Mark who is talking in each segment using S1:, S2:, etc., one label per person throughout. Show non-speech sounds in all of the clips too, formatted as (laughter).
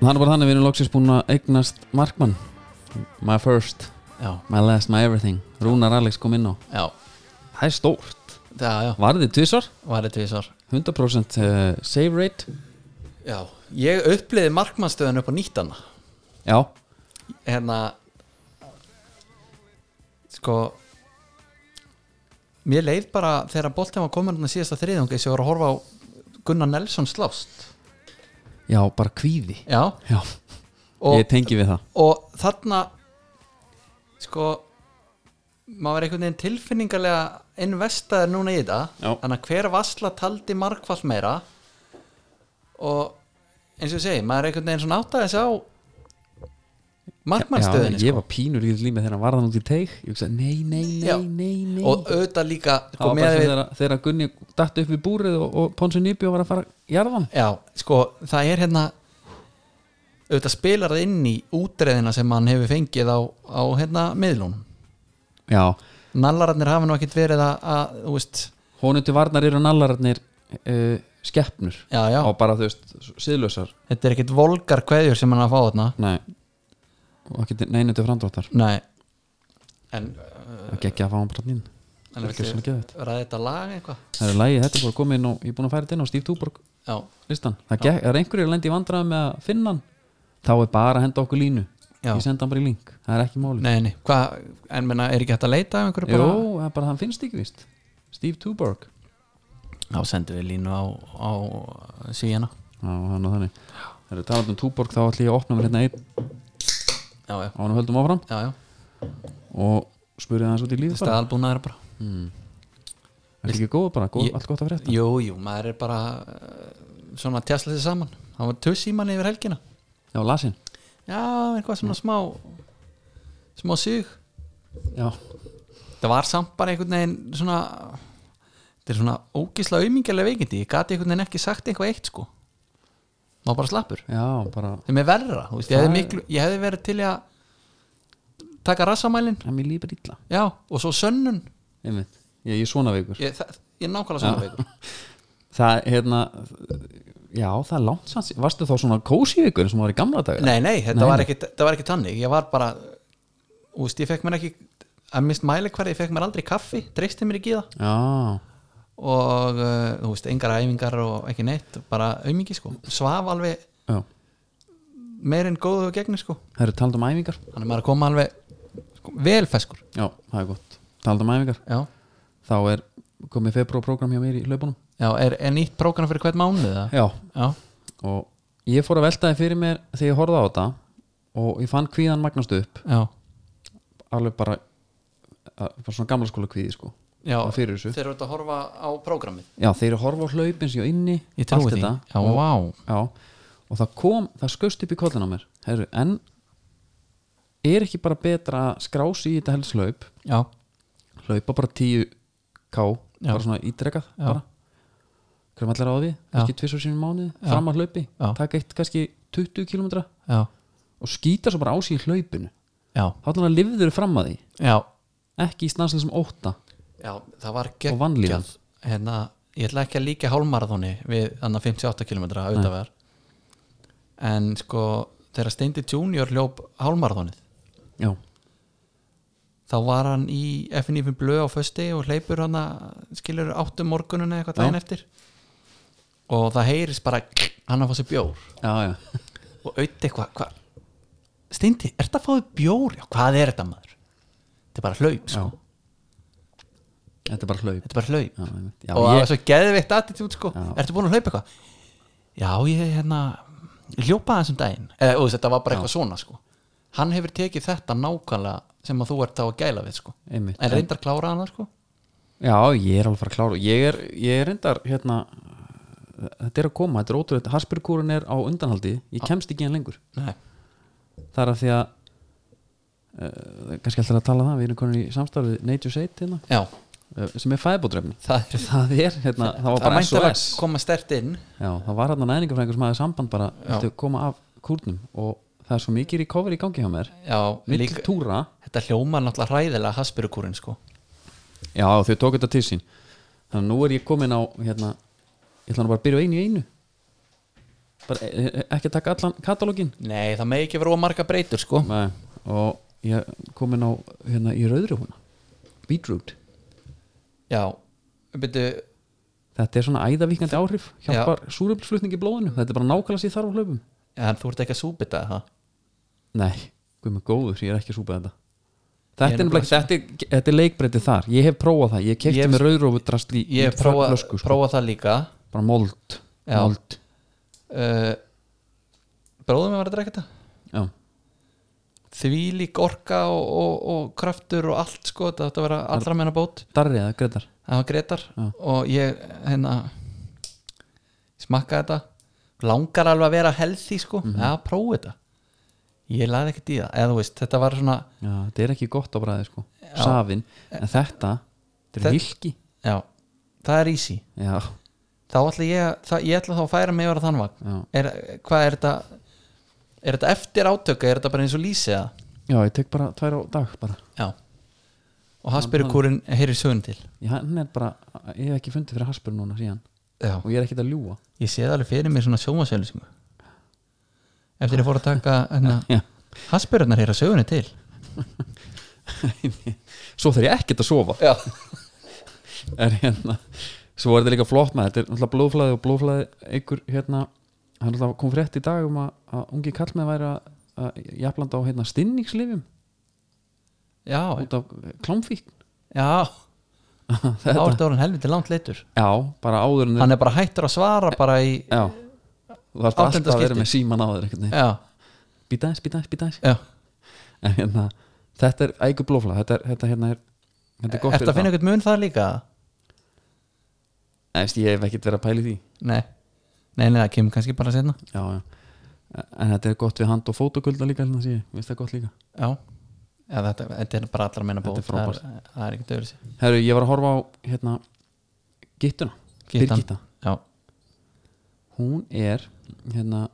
S1: Það er bara þannig að við erum loksins búin að eignast Markmann My first,
S2: já,
S1: my last, my everything Rúnar Alex kom inn á
S2: já,
S1: Það er stórt
S2: já, já,
S1: Varðið tvisvar,
S2: var þetta við svar
S1: 100% eh, save rate
S2: Já, ég uppliði markmannstöðun upp á nýttana
S1: Já,
S2: Hérna Sko Mér leið bara þegar boltið var komin þarna síðasta þriðjungi sem ég var að horfa á Gunnar Nelson slást
S1: já, bara kvíði
S2: Já,
S1: Já,
S2: og,
S1: ég tengi við það
S2: og þarna sko maður var einhvern veginn tilfinningarlega investaður núna í þetta
S1: Já.
S2: þannig að hver vassla taldi markvall meira og eins og ég segi, maður er einhvern veginn svona áttaði þessi á markmannstöðinni
S1: Já, ég var pínur í límið þegar hann varðan út í teig Ég hugsaði, nei, nei, nei,
S2: sko. Já.
S1: nei, nei
S2: sko. og uh, auðvitað líka
S1: Það
S2: sko,
S1: var bara
S2: með
S1: sem
S2: við,
S1: þegar, þegar Gunni datt upp í búrið og, og Ponsi Nýbjó var að fara að jarðan
S2: já, sko, það er hérna auðvitað spilar það inn í útreðina sem hann hefur fengið á, á hérna miðlunum
S1: Já,
S2: nallararnir hafa nú ekkert verið að, að þú veist,
S1: honum til varnar eru nallararnir uh, skeppnur
S2: já já
S1: og bara þú veist, síðlösar
S2: Þetta er ekkert volgar kveðjur sem hann er að fá þarna
S1: Nei, og ekki neinu til framdráttar
S2: Nei En uh,
S1: Það gekk ég að fá hann bara inn
S2: En
S1: Það er ekki
S2: viltu-
S1: svona geðvægt
S2: ræði þetta lag eitthvað?
S1: Það er lægið, þetta er bara komið inn og ég er búin að færa þetta inn á Steve Tuborg
S2: Já,
S1: listan Það gekk, er einhverju að lendi í vandræðum með að finna hann Þá er bara að henda okkur línu
S2: Já.
S1: Ég senda hann bara í link, það er ekki máli
S2: nei, nei Hvað, en menna, er ekki hægt að leita af einhverju
S1: Jó,
S2: bara?
S1: það er bara hann finnst ekki víst Steve Tuborg
S2: Þá sendum við línu á, á síðana
S1: Já, hann og þannig Það eru talað um Tuborg, þá ætlum ég að opna mér hérna einn
S2: Já, já,
S1: á hann höldum áfram
S2: já, já
S1: og spurði það hans út í lífið bara
S2: Staðalbúnaður bara
S1: Það er ekki góð bara, góð,
S2: Ég-
S1: allt gott að frétta
S2: Jú, jú, maður er bara uh, svona að tjasla sér saman Það var tuss í manni yfir helgina
S1: Já, lasin
S2: Já, eitthvað svona smá smá sig
S1: Já,
S2: það var samt bara einhvern veginn svona þetta er svona ógísla aumingilega veikindi ég gati einhvern veginn ekki sagt eitthvað eitt sko má bara slappur
S1: já, bara
S2: þeim er verra, þú veist, ég hefði, miklu, ég hefði verið til í að taka rassamælin
S1: Það er mér lífið illa
S2: já, og svo sönnun
S1: Einmitt. Ég, ég er svona veikur
S2: ég, það, ég er nákvæmlega svona veikur
S1: Það, hérna Já, það er langt sanns Varstu þá svona kósi veikur eins og maður var í gamla daga?
S2: nei, nei,
S1: Nei,
S2: þetta var
S1: nei.
S2: ekki, það var ekki tannig ég var bara, þú veist, ég fekk mér ekki að mist mælikværi, ég fekk mér aldrei kaffi treysti mér ekki í það
S1: Já,
S2: og, uh, þú veist, engar æfingar og ekki neitt, bara aumingi sko svaf alveg
S1: já
S2: meir en góðu og gegnir sko
S1: Það eru talað um æfingar
S2: hann er maður að koma alveg sko, vel feskur
S1: Já, það er gott Talað um æfingar
S2: já,
S1: Þá er komið februar program hjá mér í laupunum
S2: já er, er nýtt prógram fyrir hvern mánuð eða?
S1: Já,
S2: já,
S1: og ég fór að velta þið fyrir mér þegar ég horfði á þetta og ég fann kvíðan magnast upp
S2: já,
S1: alveg bara, að- bara svona gamla skóla kvíði sko
S2: já
S1: Bara fyrir þessu
S2: þeir eru að horfa á prógramið
S1: Já, þeir eru að horfa á hlaupin sér inni
S2: ég trúi
S1: allt
S2: því,
S1: þetta.
S2: já, vá
S1: Já, og það kom, það skust upp í kollin á mér Heru, en er ekki bara betra að skrási í þetta helst hlaup
S2: já,
S1: hlaupa bara 10k
S2: Já.
S1: bara svona ítrekað
S2: Já.
S1: bara hverjum allar á því, kannski tvisar sínum mánuði
S2: Já.
S1: fram að hlaupi,
S2: Já.
S1: taka eitt kannski 20 km
S2: já,
S1: og skýta svo bara á sig í hlaupinu
S2: já,
S1: þá ætlaði að lifður fram að því
S2: já
S1: ekki í stansleisum ótta
S2: já, það var
S1: Og vanlíðan.
S2: geggjað hérna, ég ætla ekki að líka hálmarathoni við annar 58 km auðvitaðverð en sko þegar Steindi Junior hljóp hálmarathonið
S1: já,
S2: þá var hann í FNF blöð á fösti og hleypur hann að skilur áttum morgununa eitthvað
S1: Já.
S2: daginn eftir og það heyrist bara hann að fá sér bjór
S1: já, já,
S2: og auðvitað eitthvað hva? Steindi, ert að fá þér bjór? Já, hvað er þetta maður? Þetta er bara hlaup,
S1: já.
S2: sko
S1: þetta er bara hlaup
S2: Þetta er bara hlaup
S1: já, einmitt. já,
S2: og það
S1: ég,
S2: var svo geðveitt attitút, sko
S1: Já.
S2: Ertu búin að hlaupa eitthvað? Já, ég hérna ég hljópa þessum daginn Eða, og þetta var bara eitthvað svona, sko Hann hefur tekið þetta nákvæmlega sem að þú ert á að gæla við, sko
S1: Einmitt.
S2: En reyndar klára hann, sko
S1: Já, ég er alveg að fara að klára Ég er, ég er reyndar hérna Þetta er að koma, þetta er ótrúlega Harsbyrgkúrun er á undanhaldi, ég kemst ekki hann lengur
S2: Nei.
S1: Það er að því að uh, kannski alltaf að tala það, við erum konur í samstarfi Nature's Aid hérna,
S2: Já,
S1: uh, sem er fæðbótrefni
S2: það er
S1: (laughs) Það er, hérna, það var
S2: það
S1: bara
S2: mætti alveg
S1: SOS
S2: koma stert inn
S1: Já, það var hérna næðingafræðingur sem hafði samband bara,
S2: Já.
S1: þetta koma af kúrnum og það er svo mikið recovery í gangi hjá mér
S2: já,
S1: Mill
S2: líka,
S1: túra,
S2: þetta hljómar náttúrulega hræðilega haspirukúrin sko
S1: já þau tók þetta til sín Þannig að nú er ég komin á hérna, ég ætla nú bara að byrja á einu í einu bara e- e- ekki taka allan katalógin
S2: Nei, það megi ekki vera ómarga breytur sko
S1: Nei. og ég kom inn á hérna í rauðri húna beetroot,
S2: Já, byrju
S1: þetta er svona æðavíkandi áhrif hjálpar súröflflutningi blóðinu þetta er bara nákvæmlega sér þarf á hlaupum
S2: En þú ert ekki að súbita það
S1: nei, guð með góður, ég er ekki að súpa þetta þetta
S2: Ég
S1: er,
S2: er
S1: nefnilega- þetta er, þetta er leikbreytið þar ég hef prófað það, ég
S2: Ég
S1: kefti
S2: hef-
S1: með rauðrófudrast í,
S2: Ég
S1: í
S2: prófa,
S1: flösku, sko.
S2: prófa það líka
S1: bara mold,
S2: Já.
S1: mold.
S2: uh, Bróðum við var að drekka þetta
S1: Já.
S2: Því lík orka og, og, og kraftur og allt sko Þetta átti að vera allra meina bót
S1: Darri eða Gretar
S2: Það var Gretar
S1: Já.
S2: og ég hérna smakkaði þetta langar alveg að vera healthy sko mm að prófa þetta ég laði ekkert í það, eða þú veist, þetta var svona
S1: Já, þetta er ekki gott á bræði sko Safin, en þetta Þetta
S2: Þetta-
S1: er hilki
S2: já, það er easy
S1: Já,
S2: þá ætla ég, að- það, ég ætla þá að færa mig yfir að þann vagn
S1: já.
S2: er, hvað er þetta er þetta eftir átöku, er þetta bara eins og lýsi eða?
S1: já, ég tek bara tvær á dag bara.
S2: já og Hasbyrjukúrin heyrir sögun til
S1: Ég, hann er bara, ég hef ekki fundið fyrir haspur núna síðan
S2: já,
S1: og ég er ekkert að ljúga
S2: ég sé það alveg fyrir mér svona sjómasölu eftir ég fór að taka hérna,
S1: Já. (laughs)
S2: Hasbyrjurnar heyra sögunni til
S1: Svo þarf ég ekkert að sofa
S2: já
S1: er, hérna. Svo er þetta líka flott maður Þetta er náttúrulega blóðflæði og blóðflæði einhver, hérna, hann náttúrulega kom frétt í dag um að, að ungi kallmenn væri að, að jafnlanda á hérna, stinningslifum
S2: Já,
S1: út af eh, klámfíkn (laughs)
S2: já, þá
S1: Þetta-
S2: ertu orðin helviti langt leitur
S1: Já, bara áður en
S2: Hann er bara hættur að svara bara í
S1: Já Þú þarfst
S2: Áttunda
S1: alltaf að vera
S2: skipti.
S1: með síman á þér einhvern veginn.
S2: Já,
S1: Býta aðeins, býta aðeins, býta aðeins
S2: já
S1: En hérna, þetta er ægur blófla Þetta er, þetta hérna er Þetta er gott
S2: Ertu að finna eitthvað mun það líka?
S1: það Eftir, Ég hef ekkert verið að pæli því
S2: Nei, nei, nei, það kemur kannski bara setna
S1: Já, já En þetta er gott við hand og fótogulda líka hérna sé ég, Mér finnst það gott líka
S2: Já, já þetta, þetta er bara allar meina bóð
S1: Þetta er frábært.
S2: Það er, það er ekkert öðru sér
S1: Herru, ég var að horfa á hérna Gittuna, Birgitta
S2: Já,
S1: Hún er hérna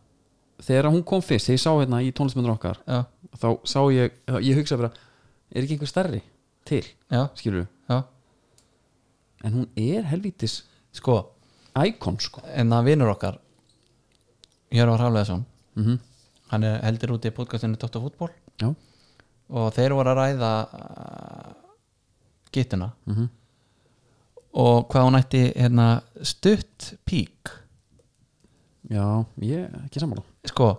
S1: Þegar hún kom fyrst, þegar ég sá hérna í tónlismyndur okkar
S2: já,
S1: Þá sá ég, ég hugsa bara Er ekki einhver starri til,
S2: já,
S1: skilur
S2: já
S1: En hún er helvítis
S2: Sko,
S1: Icon sko
S2: en það vinur okkar Jörvar Hafleðason
S1: mm
S2: Hann er heldur úti í podcastinu Dóttar fútból
S1: Já,
S2: og þeir voru að ræða uh, gittuna
S1: mm
S2: og hvað hún ætti hérna, stutt pík
S1: já ég er ekki sammála
S2: sko,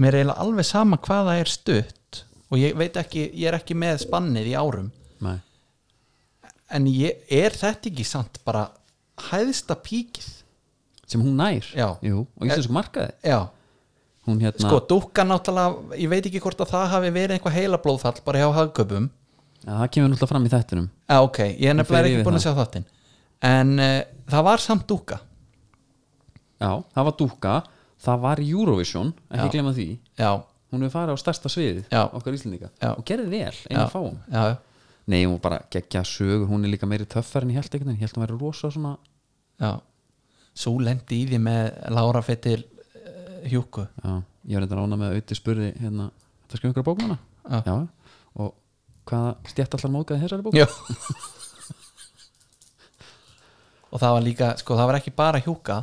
S2: mér er eiginlega alveg sama hvað það er stutt og ég veit ekki, ég er ekki með spannið í árum
S1: Nei.
S2: en ég, er þetta ekki samt bara hæðsta píkið
S1: Sem hún nær
S2: Já.
S1: Jú, og íslensku markaði
S2: já,
S1: Hún hérna
S2: sko, dúkkan náttúrulega ég veit ekki hvort að það hafi verið einhvað heila blóðfall bara hjá hagköpum
S1: ja, Það kemur náttúrulega fram í þettinum
S2: Já, ok, ég er
S1: fer
S2: nefnilega
S1: yfir
S2: ekki búin að sjá
S1: það.
S2: þáttinn en uh, það var samt dúkka
S1: Já, það var dúka Það var Eurovision, ekki
S2: Já.
S1: glemma því
S2: já,
S1: Hún hefur farið á starsta sviðið
S2: Já.
S1: Okkar íslendinga
S2: Já.
S1: Og gerði vel,
S2: já,
S1: einu fáum
S2: já, já,
S1: Nei, hún var bara geggja sögur Hún er líka meiri töffar en ég held ekkert Ég held hún væri rosa svona
S2: Já, svo lendi í því með Lára Fettil uh, Hjúku
S1: Já, ég var eitthvað rána með að auðvitað spurði hérna, Það skrifa einhverja bókmana
S2: Já.
S1: Já, og hvaða stjætt allar móðgæði þessari bók
S2: Já (laughs) Og það var líka, sko það var ekki bara Hjúka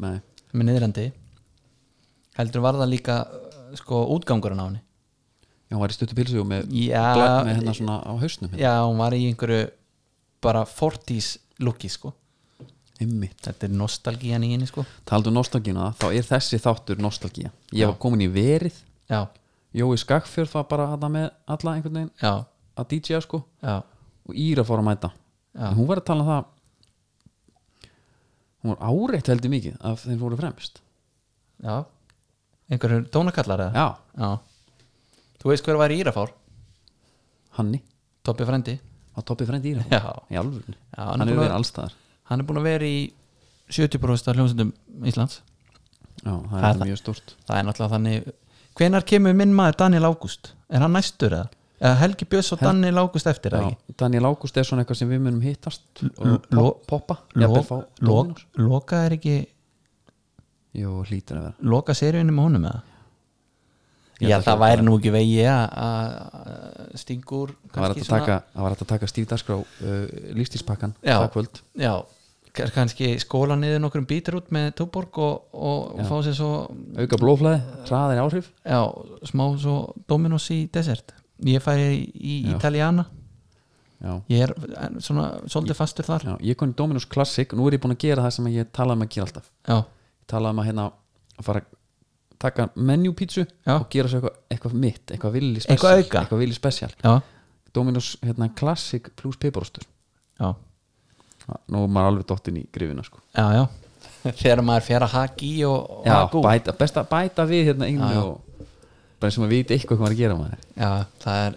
S1: Nei,
S2: með niðrandi heldur var það líka uh, sko útgangurinn á henni
S1: Já, hún var í stuttu pilsu og með,
S2: Já.
S1: glæ- með hérna svona á hausnum hérna.
S2: Já, hún var í einhverju bara 40s looki sko
S1: Einmitt.
S2: Þetta er nostalgían í henni sko
S1: Taldu um nostalgína, þá er þessi þáttur nostalgía. Ég var komin í verið
S2: Já,
S1: Jói Skagfjörð var bara að með alla einhvern veginn
S2: já,
S1: að DJ-a sko
S2: já,
S1: og Íra fór að mæta
S2: Já.
S1: en hún var að tala um það hún var áreitt heldur mikið af þeim fóru fremst
S2: já einhverju tónakallar eða?
S1: Já,
S2: já Þú veist hver var í Írafár?
S1: Hanni,
S2: Toppi frendi
S1: á toppi frendi Íra
S2: Já
S1: í alvörinu,
S2: Já,
S1: hann hefur
S2: er búinn
S1: verið
S2: að-
S1: allstaðar
S2: hann er búin að vera í 70% af hljómsveitum Íslands
S1: Já, það er
S2: Það er
S1: þetta
S2: það.
S1: mjög stort
S2: það er náttúrulega þannig hvenar kemur minn maður Daniel Ágúst er hann næstur eða? eða Helgi Björns og Daniel Ágúst eftir eða
S1: Já,
S2: ekki?
S1: Daniel Ágúst er svona eitthvað sem við munum hittast og
S2: lo-
S1: pop- poppa jafnvel
S2: Lok,
S1: fá
S2: lok,
S1: Dominos.
S2: loka er ekki
S1: Jú, hlýtur að vera
S2: loka seríunni með honum eða?
S1: Ég
S2: Já,
S1: held að
S2: það
S1: það
S2: væri nú ekki vegi að- að stingur
S1: Það var hægt að taka, það var hægt að taka Steve Dasgrá uh, lífstílspakkan
S2: Já.
S1: það kvöld
S2: já, Kann- kannski skóla niður nokkrum bítur út með túborg og, og
S1: Já.
S2: fá sér svo
S1: auka blóflæði, hraðin áhrif
S2: já, smá svo Dominos í desert ég færi í
S1: Já.
S2: Italiana
S1: já,
S2: ég er en, svona svolítið fastur þar já,
S1: já, ég kom í Dominus Classic nú er ég búin að gera það sem ég talaði um að gera alltaf
S2: já,
S1: ég talaði um að hérna að fara að taka menu pítsu
S2: Já.
S1: og gera svo eitthvað, eitthvað mitt, eitthvað villi
S2: Eitthvað
S1: spesial
S2: auka.
S1: eitthvað villi spesial,
S2: já,
S1: Dominus hérna, Classic plus piparostur
S2: já,
S1: nú er maður alveg dottinn í grifina sko.
S2: já. (laughs) þegar maður fer að haki og, og
S1: já,
S2: haki út.
S1: bæta, best að bæta við hérna einu
S2: Já, já.
S1: og bara sem að vita eitthvað hvað maður er að gera maður
S2: já, það er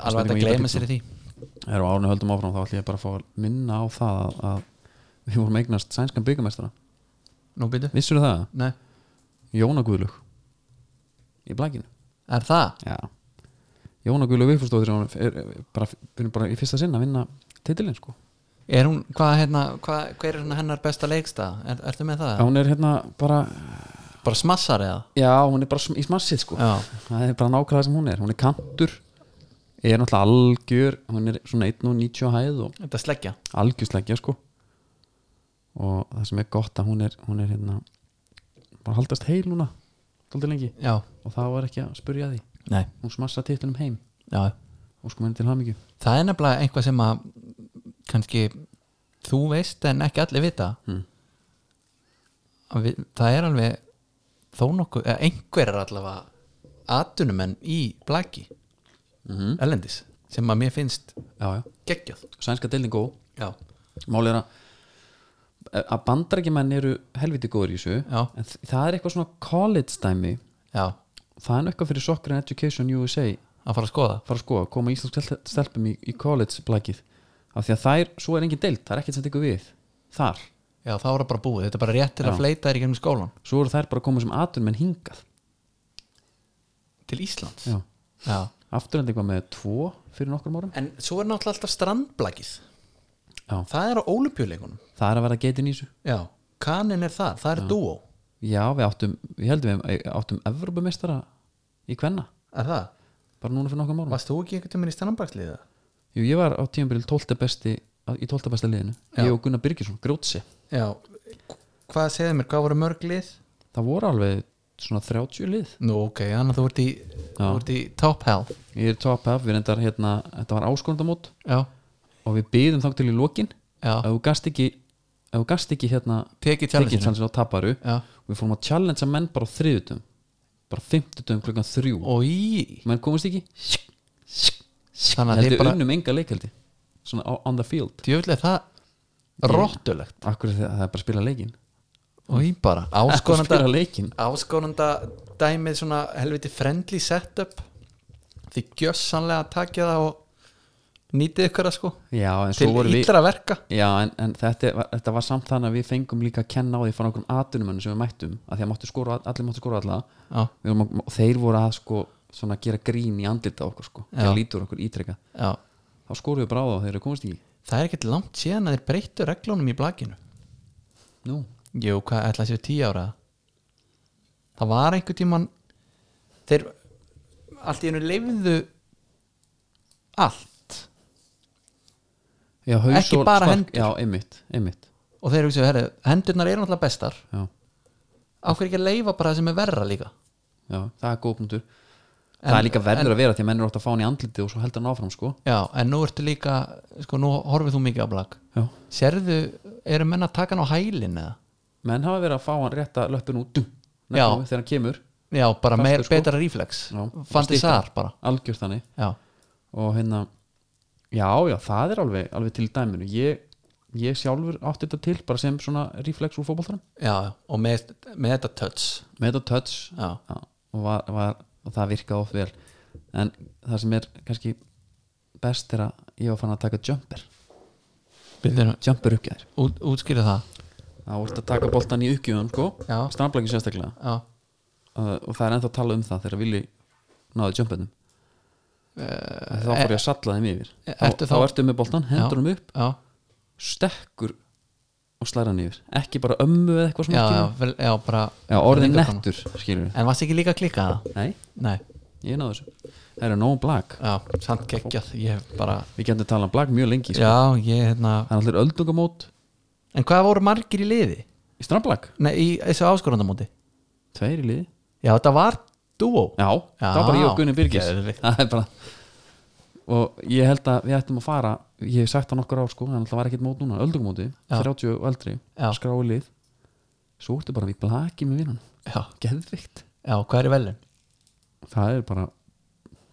S2: alveg
S1: spurning
S2: hægt
S1: um
S2: að gleyma
S1: ítalpizza.
S2: sér í því
S1: er á árunni höldum áfram þá ætlum ég bara að fá að minna á það að, að við vorum eignast sænskan byggamestara
S2: nú býtu,
S1: vissur það,
S2: nei,
S1: Jóna Guðlug í blækinu
S2: er það
S1: Já Jóna Guðlaug Vigfúsdóttir hún er er bara, er bara í fyrsta sinn að vinna titilinn sko
S2: er hún, hvað hérna, hvað, hver er svona hennar besta leikstað, er, ertu með það
S1: Já, hún er hérna bara
S2: bara smassar eða
S1: Já, hún er bara sm- í smassið sko
S2: já,
S1: Það er bara nákvæmlega það sem hún er Hún er kantur Er náttúrulega algjör Hún er svona 1.90 á hæð og
S2: þetta sleggja
S1: algjörsleggja sko Og það sem er gott að hún er Hún er hérna Bara haldast heil núna Daldið lengi
S2: já,
S1: Og það var ekki að spurja því
S2: nei,
S1: Hún smassa titlinum heim
S2: já,
S1: Og sko henni til hamingju
S2: það er nefnilega eitthvað sem að kannski þú veist en ekki allir vita
S1: Hmm.
S2: Að við, það er alveg þó nokkuð, eða einhver er allavega atunumenn í blæki
S1: Mhm.
S2: erlendis sem að mér finnst
S1: Já, já
S2: geggjað
S1: Sænska deildin góð
S2: já,
S1: Málið er að að bandarækjumenn eru helviti góður í þessu
S2: Já.
S1: en þ- það er eitthvað svona college dæmi
S2: já,
S1: það er nú eitthvað fyrir Soccer and Education USA
S2: að fara að skoða
S1: fara að skoða, koma íslensk stel- stelpum í, í college blækið af því að þær, svo er engin deild, það er ekkert sem tekur við þar,
S2: já, þá er það bara búið, þetta er bara rétt til
S1: Já.
S2: að fleita þér í gegnum skólan
S1: svo eru þær bara að koma sem atur menn hingað
S2: til Íslands
S1: Já.
S2: Já.
S1: afturhending var með tvo fyrir nokkrum árum
S2: en svo er náttúrulega alltaf strandblækið
S1: Já.
S2: það er á ólympjuleikunum
S1: það er að vera geitin í þessu
S2: já, kanin er það, það er dúo
S1: já, við áttum, ég heldum við áttum Evrópumestara í kvenna
S2: er það?
S1: bara núna fyrir nokkrum árum
S2: Varst þú ekki einhvern tíminn í strandblæksliða?
S1: Jú, ég var á tímabil 12. besti í 12. besta liðinu,
S2: Já.
S1: ég og Gunnar Byrgisson grótsi,
S2: Já, hvað segðu mér, hvað voru mörg lið?
S1: það voru alveg svona 30 lið,
S2: Nú ok, þannig að þú ert í, þú ert í top hell
S1: ég er top half við reyndar hérna, þetta var áskorundamót
S2: Já,
S1: og við byðum þá til í lokin
S2: já,
S1: ef þú gast ekki, ef þú gast ekki hérna
S2: tekið
S1: tekið
S2: challenge
S1: challenge á taparu
S2: Já,
S1: við fórum að challengea menn bara á þriðutum bara fimmtutum klukkan þrjú
S2: og í
S1: menn komast ekki,
S2: Þannig að
S1: heldur
S2: þið
S1: bara...
S2: bara,
S1: unnum enga leikaldi svona á- on the field
S2: djöfulega það rottulegt
S1: akkur er það, það er bara að spila leikin
S2: Og í bara,
S1: að
S2: áskonanda
S1: spila leikin
S2: Áskonanda dæmið svona helviti friendly setup Þið gjössanlega takja það og nýtið ykkur það sko
S1: já, en svo
S2: Til
S1: voru við
S2: illra verka
S1: Já, en, en þetta, var- þetta var samt þannig að við fengum líka að kenna á því frá okkur atunumönnum sem við mættum að því að máttu skora, allir máttu skora alla
S2: Já,
S1: Við vorum að- og þeir voru að sko, svona, gera grín í andlita á okkur sko,
S2: Já.
S1: þegar lítur okkur ítrekka
S2: já
S1: þá skorum við bara á það þegar við komast ekki
S2: Það er ekkert langt síðan að þeir breyttu reglunum í blakinu
S1: Nú,
S2: Jú, hvað ætla að séu tíu ára Það var einhver tíman Þeir Allt í hennu leifðu Allt
S1: já, haus
S2: Ekki
S1: og
S2: bara
S1: spark-
S2: hendur.
S1: Já, einmitt, einmitt
S2: Og þeir hugsaðu, herri, hendurnar eru náttúrulega bestar
S1: já,
S2: Á hverju ekki að leifa bara það sem er verra líka
S1: já, það er góð punktur Það er líka verður að vera því að menn eru átt að fá hann í andliti og svo heldur hann áfram sko
S2: Já, en nú ertu líka Sko, nú horfið þú mikið á blak
S1: já.
S2: Sérðu, eru menn að taka hann á hælin eða?
S1: Menn hafa verið að fá hann rétta löppin út dum,
S2: Já.
S1: nefnum, þegar hann kemur
S2: Já, bara
S1: Fastur,
S2: meir,
S1: sko.
S2: betra reflex
S1: Já,
S2: Fandi
S1: styttra.
S2: sar bara
S1: algjört þannig
S2: Já,
S1: og hérna já, já, það er alveg, alveg til í dæminu ég, ég sjálfur átti þetta til bara sem svona reflex úr fótboltanum
S2: já, já. og með, með þetta touch
S1: með þetta touch
S2: Já,
S1: já, og, var, var, og það virkaði oft vel en það sem er kannski best er að ég var fann að taka jumper
S2: byrðinu,
S1: jumper uppgjær
S2: út, útskýrðu það
S1: það voru að taka boltan í uppgjöfum sko
S2: Já.
S1: strandblækjum sérstaklega
S2: Já,
S1: uh, og það er ennþá að tala um það þegar vilji náðu jumpernum uh, þá fór ég að salla þeim yfir
S2: Eh, ertu
S1: þá
S2: þá-
S1: ertu með boltan, hendur hann upp
S2: já
S1: stekkur og slæra hann yfir ekki bara ömmu eða eitthvað svona
S2: já, já,
S1: skilur.
S2: vel, já, bara
S1: já orðin
S2: Enga konu.
S1: nettur skilur við
S2: En varst ekki líka að klikka það?
S1: nei,
S2: Nei,
S1: ég náðu þessu það eru nóg blag,
S2: já, samt geggjað Ég hef bara,
S1: við getum talað um blag mjög lengi sko.
S2: já, ég hérna
S1: það er allir öldungamót
S2: en hvað voru margir í liði?
S1: í stramblag,
S2: Nei, í þessu áskorandamóti
S1: tveir í liði
S2: Já, þetta var dúó
S1: já, það var bara ég og Gunni Birgis
S2: Geðveikt.
S1: það er bara og ég held að við ættum að fara ég hef sagt það nokkur ár sko, en það var ekkert mót núna öldungumóti,
S2: Já.
S1: 30 og eldri
S2: Já.
S1: skrái lið, svo ertu bara við blaki með vinnan,
S2: Já,
S1: geðvikt
S2: já, hvað er í velun?
S1: það er bara,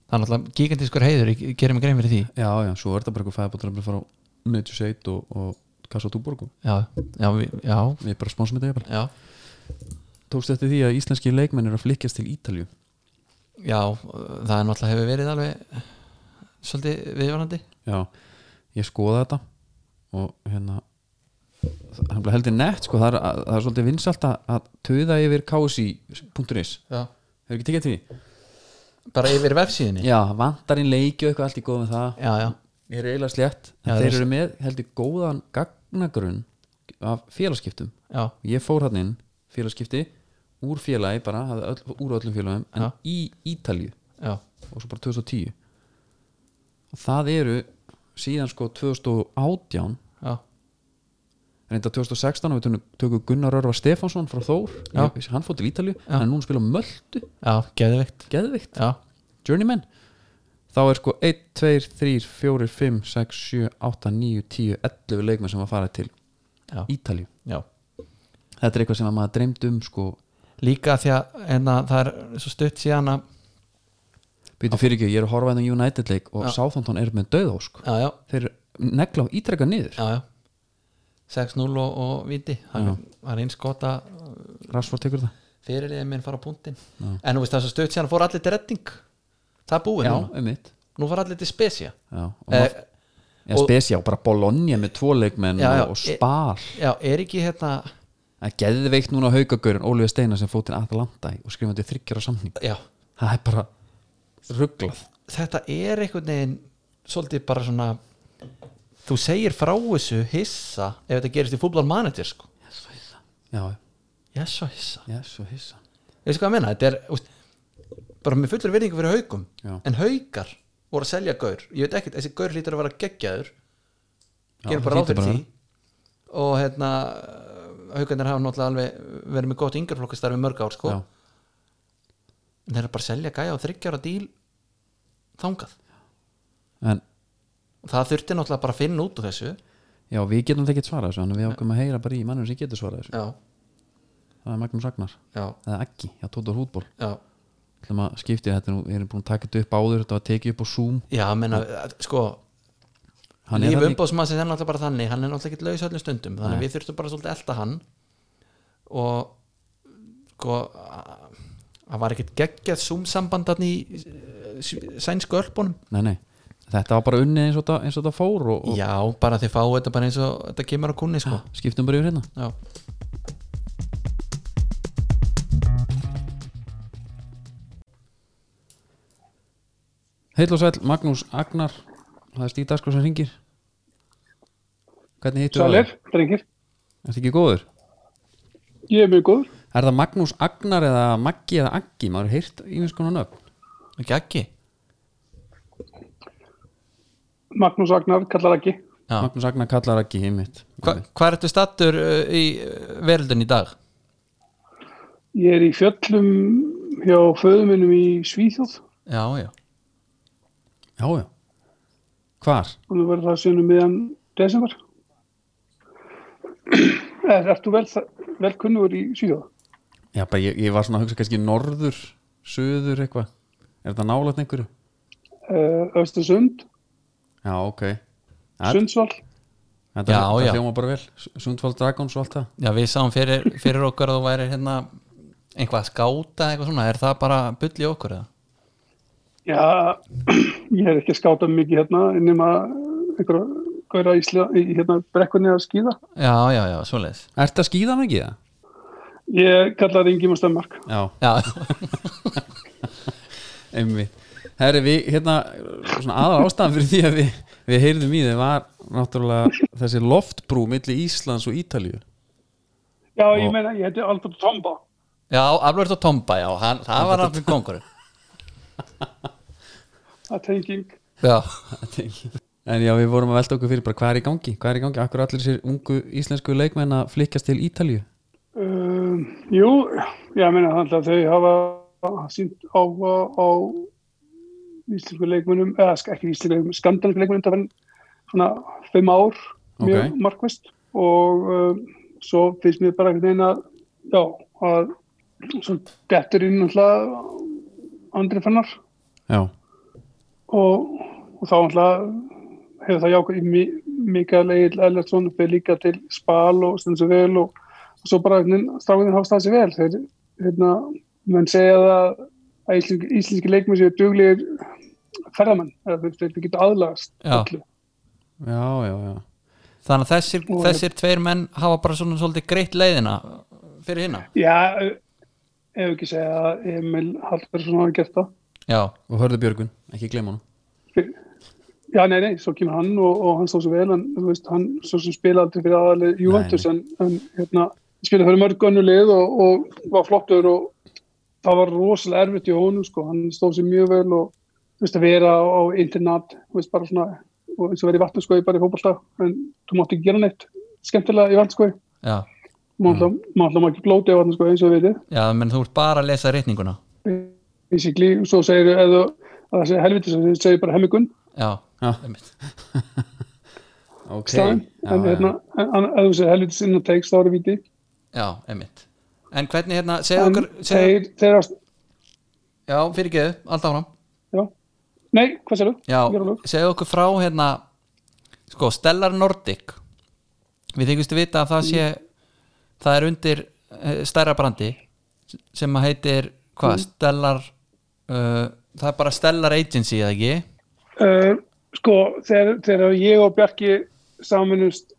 S2: Það er náttúrulega gigantískur heiður, ég gerir mig grein fyrir því
S1: já já, svo er það bara eitthvað fæðabóttrefni frá 97 og, og Kassa Túborgu,
S2: Já, já, við- já,
S1: við bara sponsum þetta jafnvel
S2: já
S1: tókst eftir því að íslenski leikmenn er að flykkjast til Ítalju
S2: Já, það er náttúrulega hefur verið alveg svolítið viðvarandi
S1: Já, ég skoða þetta og hérna það er bara heldur nett sko, það er, það er svolítið vinsalt að, að töða yfir ksi.is
S2: Já
S1: Hefur ekki tekið til því?
S2: Bara yfir vefsíðinni
S1: Já, vantarinn leiki og eitthvað allt í góð með það
S2: já, já,
S1: Ég er eiginlega slétt
S2: Já,
S1: en
S2: það
S1: Þeir
S2: er-
S1: eru með heldur góðan gagnagrunn af félagskiptum
S2: já,
S1: Ég fór hann inn félagskipti úr félagi bara, hafði öll, úr öllum félagum en
S2: Já.
S1: í Ítalju
S2: já,
S1: og svo bara 2010 og það eru síðan sko 2018
S2: já.
S1: reynda 2016 og við tökum- tökum Gunnar Örvar Stefánsson frá Þór,
S2: Já.
S1: ég, hann fótt til Ítalju
S2: Já.
S1: hann er núna að spila á Möltu,
S2: já geðvikt
S1: geðvikt
S2: Já,
S1: Journeyman, þá er sko 1, 2, 3, 4, 5, 6, 7 8, 9, 10, 11 leikmenn sem að fara til
S2: já,
S1: Ítalju
S2: já
S1: þetta er eitthvað sem að maður dreymd um sko,
S2: Líka því að enna, það er svo stutt síðan að
S1: býtu fyrir ekki, ég er að horfa hérna á United leik og Southampton er með döðósk
S2: Já, já,
S1: þeir eru negla á ítrekka niður
S2: já, já 6-0 og, og viti
S1: Já.
S2: Það það er eins gott að
S1: Rashford tekur það
S2: fyrirliðið minn fara á punktinn En þú veist það er svo stutt síðan að fór allir til redding Það er búið
S1: já,
S2: núna
S1: um mitt
S2: Nú fór allir til spesja
S1: já, og
S2: eh,
S1: maður, já, Spezia og bara Bologna með tvo leikmenn
S2: Já, já,
S1: og, og
S2: ég-
S1: Spal
S2: Já, er ekki hérna
S1: Það er geðveikt núna haugagaurin Ólíu Steinar sem fótt til Atalanta í og skrifandi þryggjara samning
S2: Já,
S1: Það er bara rugglað
S2: þetta er einhvern veginn svolítið bara svona þú segir frá þessu hissa ef þetta gerist í fútbol manager sko
S1: Já,
S2: ég svo hissa,
S1: já, svo hissa
S2: ég veist hvað að menna þetta er úst, bara með fullur virðingu fyrir haukum
S1: Já.
S2: en haukar voru að selja gaur ég veit ekkert, þessi gaur hlýtur að vera geggjaður gerum bara
S1: það
S2: ráð fyrir
S1: hlýtur
S2: því og hérna haukarnir hafa náttúrulega alveg verið með gott yngarflokkastarfi mörg ár sko
S1: Já.
S2: en þeir eru bara að selja gæja á þryggjára díl þangað
S1: En
S2: og það þurfti náttúrulega bara að finna út úr þessu
S1: já, við getum það ekki svarað þessu en við ákveðum að heyra bara í mannum sem getur svarað þessu
S2: já,
S1: Það er Magnús Agnar,
S2: já,
S1: eða Aggi, já, Tóta Hútból
S2: já
S1: Það maður skiptir þetta, nú, við erum búin að taka þetta upp áður Þetta var tekið upp á Zoom
S2: Já, menna, sko
S1: Hann er
S2: líf
S1: þannig-
S2: umbóðsmannsins er náttúrulega bara þannig hann er náttúrulega ekki laus öllum stundum þannig að við þurftum bara svolítið að elta hann og sko a- það var ekkert geggjað zoom-samband þarna í eh, s- sænsku ölpunum
S1: Nei, nei, þetta var bara unnið eins og þetta, eins og þetta fór og, og
S2: Já, bara þið fáu þetta bara eins og þetta kemur á kunni sko
S1: skiptum bara yfir hérna
S2: Já,
S1: Heill og sæll, Magnús Agnar Það er Stíð Dagskrá sem ringir Hvernig hittu
S3: Sælir, drengir,
S1: Er ekki góður?
S3: ég er mjög góður.
S1: Er það Magnús Agnar eða Maggi eða Aggi? Maður er heyrt ímins konar nöfn
S2: geggi
S3: Magnús Agnar, kallar ekki.
S2: Já.
S1: Magnús Agnar kallar Aggi heimitt
S2: Hva, Hvað ertu stattur uh, í uh, veröldin í dag?
S3: Ég er í fjöllum hjá föðuminnum í Svíþjóð.
S2: Já, já
S1: Já, já Hvar?
S3: Þannig verður það sönum miðan desember. (clears throat) Er, ertu vel, vel kunnur í Svíþjóð?
S1: Já, bara ég, ég var svona að hugsa kannski norður, söður eitthvað Er þetta nálægt einhverju?
S3: Eh, Östersund,
S1: Já, ok Ja.
S3: Sundsvall.
S1: Þetta,
S2: Já, já.
S1: þetta hljóma bara vel S- Sundfall Dragons og allt það
S2: Já, við sáum fyrir, fyrir okkur að þú væri hérna einhvað að skáta eitthvað svona, er það bara bull í okkur eða?
S3: Já, (clears throat) ég er ekki að skáta mikið hérna nema einhverja gauðra í, sli- í hérna, brekkunni að skýða.
S2: Já, já, já, svoleiðis
S1: Ertu að skýða hann ekki það?
S3: Ég kallar Ingi Stemmark.
S1: Já,
S2: (laughs) Já,
S1: einmitt Herri, við, hérna, svona aðra ástæðan fyrir því að við, við heyrðum í þið var náttúrulega þessi loftbrú milli Íslands og Ítalíu
S3: Já,
S1: Og-
S3: ég meina, ég heiti Albert Tomba.
S2: já Albert og Tomba, já, hann, það var alveg (laughs) kongur
S3: Það tenging.
S2: Já,
S1: Þetta er ekki- En já, við vorum að velta okkur fyrir bara hvað er í gangi, hvað er í gangi, akkur allir sér ungu íslensku leikmenn að flykkjast til Ítalju
S3: Um, jú, ég meina þannig að þau hafa sínt áhuga á íslensku leikmönnum, eða sk- ekki íslensku leikmönnum, skandalíku leikmönnum, það var svona fimm ár, mjög
S1: Ok.
S3: markvist og um, svo finnst mér bara einhvern veginn að, já, að svo dettur inn náttúrulega andri fennar
S1: Já,
S3: og, og þá náttúrulega hefur það jákvæð í Mikael Egil Ellertsson fyrir líka til spal og stendur sér vel og, og svo bara stráðin hafa staðið sér vel þeir, hérna, menn segja það að íslenski, íslenski leikmenn séu duglegir ferðamenn, eða þeir, þeir, þeir geta aðlagast
S2: Já.
S3: öllu.
S1: já, já, já.
S2: þannig að þessir,
S3: Og-
S2: þessir tveir menn hafa bara svona svolítið greitt leiðina fyrir hinna
S3: Já, ef ekki segja að Emil Hallbergsson hafa gert það
S2: já,
S1: og hörðu Björgun, ekki gleyma honum
S3: Já, nei, nei, svo kemur hann og, og hann stóð svo vel, hann, þú veist, hann svo sem spila aldrei fyrir aðalið Juventus, en, en hérna, spila fyrir mörg önnu lið og, og var flottur og það var rosalega erfitt í honum, sko, hann stóð sér mjög vel og, þú veist, að vera á, á internat, þú veist, bara svona, og eins og verið í vatnarskoði bara í fótbolta, en þú mátt ekki gera neitt skemmtilega í vatnarskoði,
S2: já,
S3: maður mm. ætla maður ekki blóti á vatnarskoði eins og við veitir,
S2: já, menn þú ert bara að lesa reyninguna
S3: basically, og svo segir, eða, að það segir helviti, svo segir bara hemmigun,
S2: já,
S1: Já.
S2: einmitt.
S1: okay.
S3: staðin,
S1: já,
S3: en
S1: já.
S3: hérna, en- en ef þú segir helvitis innan teiks, þá er það viti.
S2: já, einmitt en hvernig hérna, segðu
S3: En
S2: okkur segðu,
S3: þeir, þeir ást,
S2: já, fyrir geðu, allt áfram
S3: já. Nei, hvað sér þú?
S2: já, segðu okkur frá hérna sko, Stellar Nordic við þykjumst að vita að það sé það er undir eh, stærra brandi sem að heitir hvað, Stellar uh, það er bara Stellar Agency eða ekki
S3: Uh, sko, þegar, þegar ég og Bjarki saminust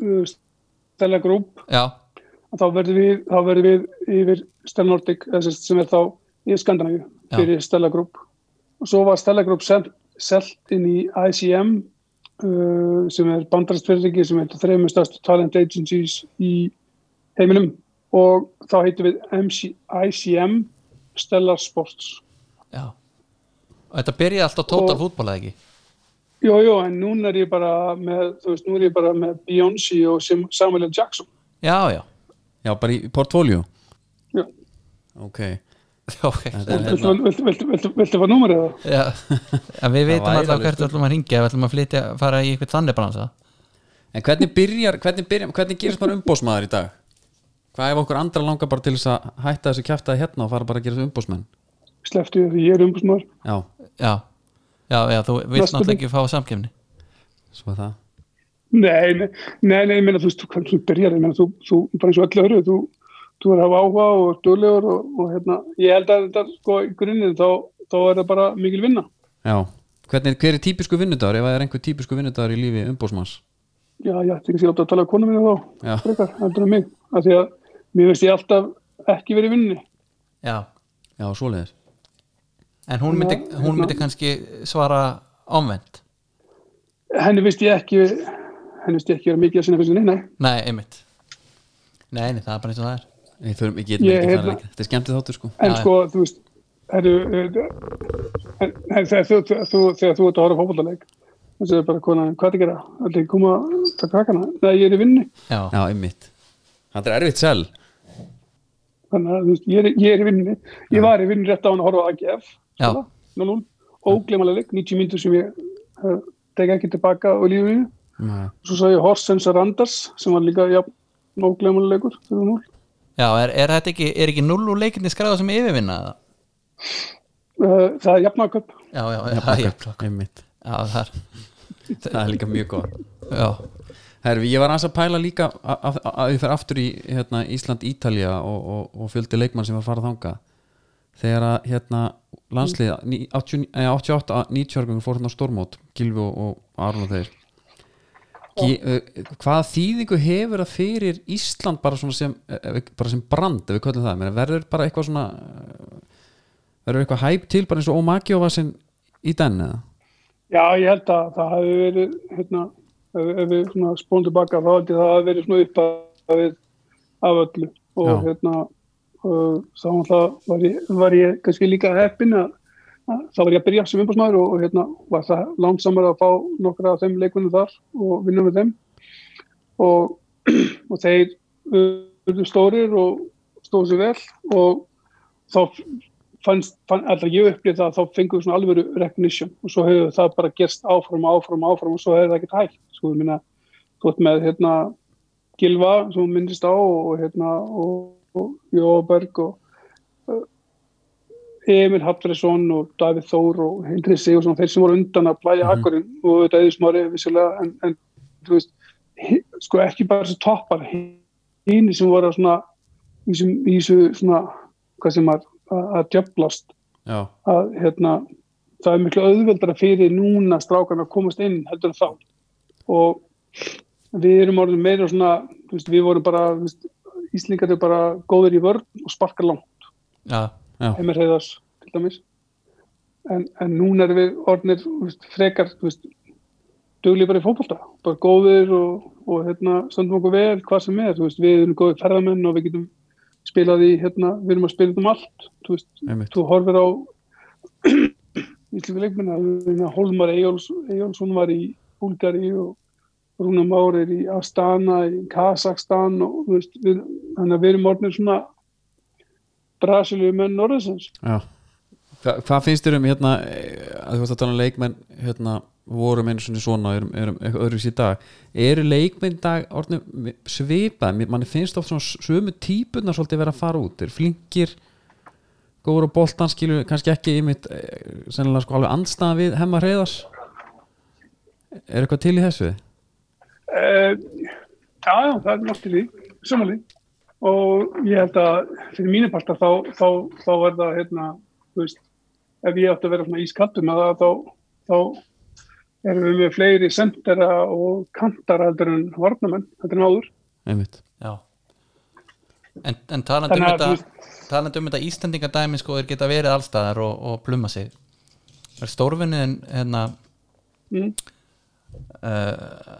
S3: uh, Stella Group,
S2: já,
S3: þá verðum við, þá verðum við yfir Stella Nordic, eða sem sagt, sem er þá í Skandinavíu,
S2: Já.
S3: fyrir Stella Group. Og svo var Stella Group sel- selt inn í ICM, uh, sem er bandarastverðriki, sem heitir þreymur stærstu talent agencies í heiminum. Og þá heitum við MC, ICM Stella Sports.
S2: já og þetta byrjaði allt á Total
S3: Og-
S2: Football eða ekki
S3: Jó, jó, en núna er ég bara með, þú veist, nú er ég bara með Beyoncé og Sim- Samuel L. Jackson.
S2: já, já, (laughs)
S1: já, bara í portfóljó
S3: Já.
S1: Ok,
S2: já, ok
S1: Þetta er-
S3: Viltu, viltu, viltu, viltu, viltu fá númerið það?
S2: já, en við veitum
S1: væri
S2: alltaf
S1: alveg
S2: hvert við ætlum að ringja, við ætlum að flytja, fara í eitthvað þannig bransa
S1: en hvernig byrjar, hvernig byrjar, hvernig gerist maður umbósmaður í dag? Hvað ef okkur andra langar bara til þess að hætta þessu kjæftaði hérna og fara bara að gera þessu umbósmenn?
S3: Sleftu því ég er umbúsmaður.
S1: Já,
S2: já, já, já, þú vilt
S3: Næsta
S2: náttúrulega
S3: link.
S2: ekki fá samkefni
S1: svo er það
S3: Nei, nei, nei, nei, ég meina, þú veist, þú kannski byrjar, ég meina, þú, þú, bara eins og öllu öru, þú, þú er að hafa áhuga og ert duglegur og, og hérna, ég held að þetta, sko, í grunninn, þá, þá er það bara mikil vinna.
S1: Já, hvernig, hver er típisku vinnudagur ef það er einhver típisku vinnudagur í lífi umbósmanns?
S3: Já, ég ætti ekki sér átt að tala um konu mínu þá,
S1: Já.
S3: frekar, heldur en mig, af því að mér veist ég alltaf ekki verið í vinninni.
S2: já,
S1: Já, svoleiðis
S2: En hún myndi,
S3: Nei,
S2: hún
S3: hérna-
S2: myndi kannski svara ámvend
S3: Henni veist ég ekki, henni veist ég ekki vera mikið að sinna fyrir sinni, nei.
S2: Nei, einmitt Nei, nei, það er bara eins og það er
S1: Við þurfum, ég getum
S3: Ég
S1: ekki
S3: heyrði-
S1: farið lengra. Þetta er skemmtið þáttur sko
S3: en
S2: Já.
S3: sko, þú veist heru, heru, heru, þegar, þú, þú, þú, þegar þú ert að horfa fókbaltaleik þú segir bara konan, hvað er að gera allir ekki koma að taka kakana nei, ég er í vinnu,
S2: Já,
S1: Já, einmitt Þetta er erfitt sel
S3: þannig að þú veist, ég er, ég er í vinnu ég var í vinnu rétt á hann að horfa á AGF
S2: Já.
S3: spila, 0-0, óglemalega leik 90 myndur sem ég uh, tek ekki tilbaka á lífið mínu
S1: (laughs)
S3: svo sagði ég Horsens Randers sem var líka ja, óglemalega leikur 0-0
S2: já er, er þetta ekki, er ekki null úr leikinni skráða sem yfirvinna það?
S3: Uh, það er jafnaköp
S2: Já, já, já, það er jafnflokk.
S1: Einmitt
S2: já, það er
S1: Það er líka mjög góð
S2: Já,
S1: Herfi, ég var aðeins að pæla líka að- að að við fer aftur í hérna, Ísland, Ítalja og, og, og fjöldi leikmann sem var að fara þanga þegar að hérna, landslið eh, 88-90 fór hérna á stormót Gilvi og, og Arnur þeir G, uh, hvaða þýðingu hefur það fyrir Ísland bara svona sem, eh, ef- bara sem brand ef við köllum það, Meni, verður bara eitthvað svona eh, verður eitthvað hæp til bara eins og Omagio var sinn í den eða?
S3: Já, ég held að það hefði verið, hérna, ef, ef við svona spónum tilbaka, þá held ég að það hefði verið svona upphafið af öllu og
S1: Já.
S3: hérna, uh, þá náttúrulega var ég, var ég kannski líka heppin að það var ég að byrja sem umbúrsmæður og, og hérna var það langsamar að fá nokkra af þeim leikunum þar og vinna með þeim og, (clears throat) og þeir urðu stórir og stóðu sér vel og þá fannst, fann, allra ég upplýði það að þá fengum við svona alvöru recognition og svo hefur það bara gerst áfram, áfram, áfram og svo hefur það ekkert hægt, sko við minna þú ert með hérna Gilva sem myndist á og hérna og, og Jóberg og uh, Emil Haptresson og Davíð Þór og Henry Sigursson, þeir sem voru undan að plæja hakkurinn mm -hmm. og auðvitað eða smári vissilega en, en þú veist sko ekki bara þessi toppar hinn sem voru svona í þessu svona hvað sem að, að djöflast að hérna það er miklu auðveldara fyrir núna strákan að komast inn heldur þá og við erum orðin meira svona, þú veist, við vorum bara veist, Íslingar eru bara góður í vörn og sparkar langt
S2: Já
S3: heimir heiðars til dæmis en, en núna erum við orðinir veist, frekar dögli bara í fólkvölda, bara góðir og, og hérna, stöndum okkur vel hvað sem er, veist, við erum góðir ferðamenn og við getum spilað í, hérna, við erum að spila um allt, þú veist,
S1: Einmitt.
S3: þú horfir á (clears throat) íslengu leikmenn að Holmar Eyjóls, Eyjólfsson var í Búlgari og Rúna Már er í Astana, í Kazakstan og þú veist, við, þannig að við erum orðinir svona Brasilíu menn Norðsins
S1: Já. Hva, hvað finnst þér um hérna eh, að þú veist að tala um leikmenn hérna vorum einu svona svona erum, erum eitthvað öðruvísi í dag eru leikmenn í dag orðnum svipað Mér- manni finnst oft svona sömu típunar svolítið vera að fara út, er flinkir góður og boltan skilur kannski ekki í mitt sennilega sko alveg andstaða við hemmar reyðars er eitthvað til í þessu?
S3: Uh, já, já, það er náttúrulega því, samanlega. Og ég held að fyrir mínu parta þá, þá, þá er það, hérna, þú veist, ef ég átti að vera svona ískaldum með það, þá, þá erum við með fleiri sendera og kantara heldur en varnamenn, heldur en áður.
S1: einmitt
S2: Já En, en talandi um
S3: Þannig að
S2: þetta
S3: þú
S2: talandi um þetta Íslendingadæmi sko er geta verið allstaðar og, og pluma sig er stórvinni en hérna
S3: Mm.
S2: uh,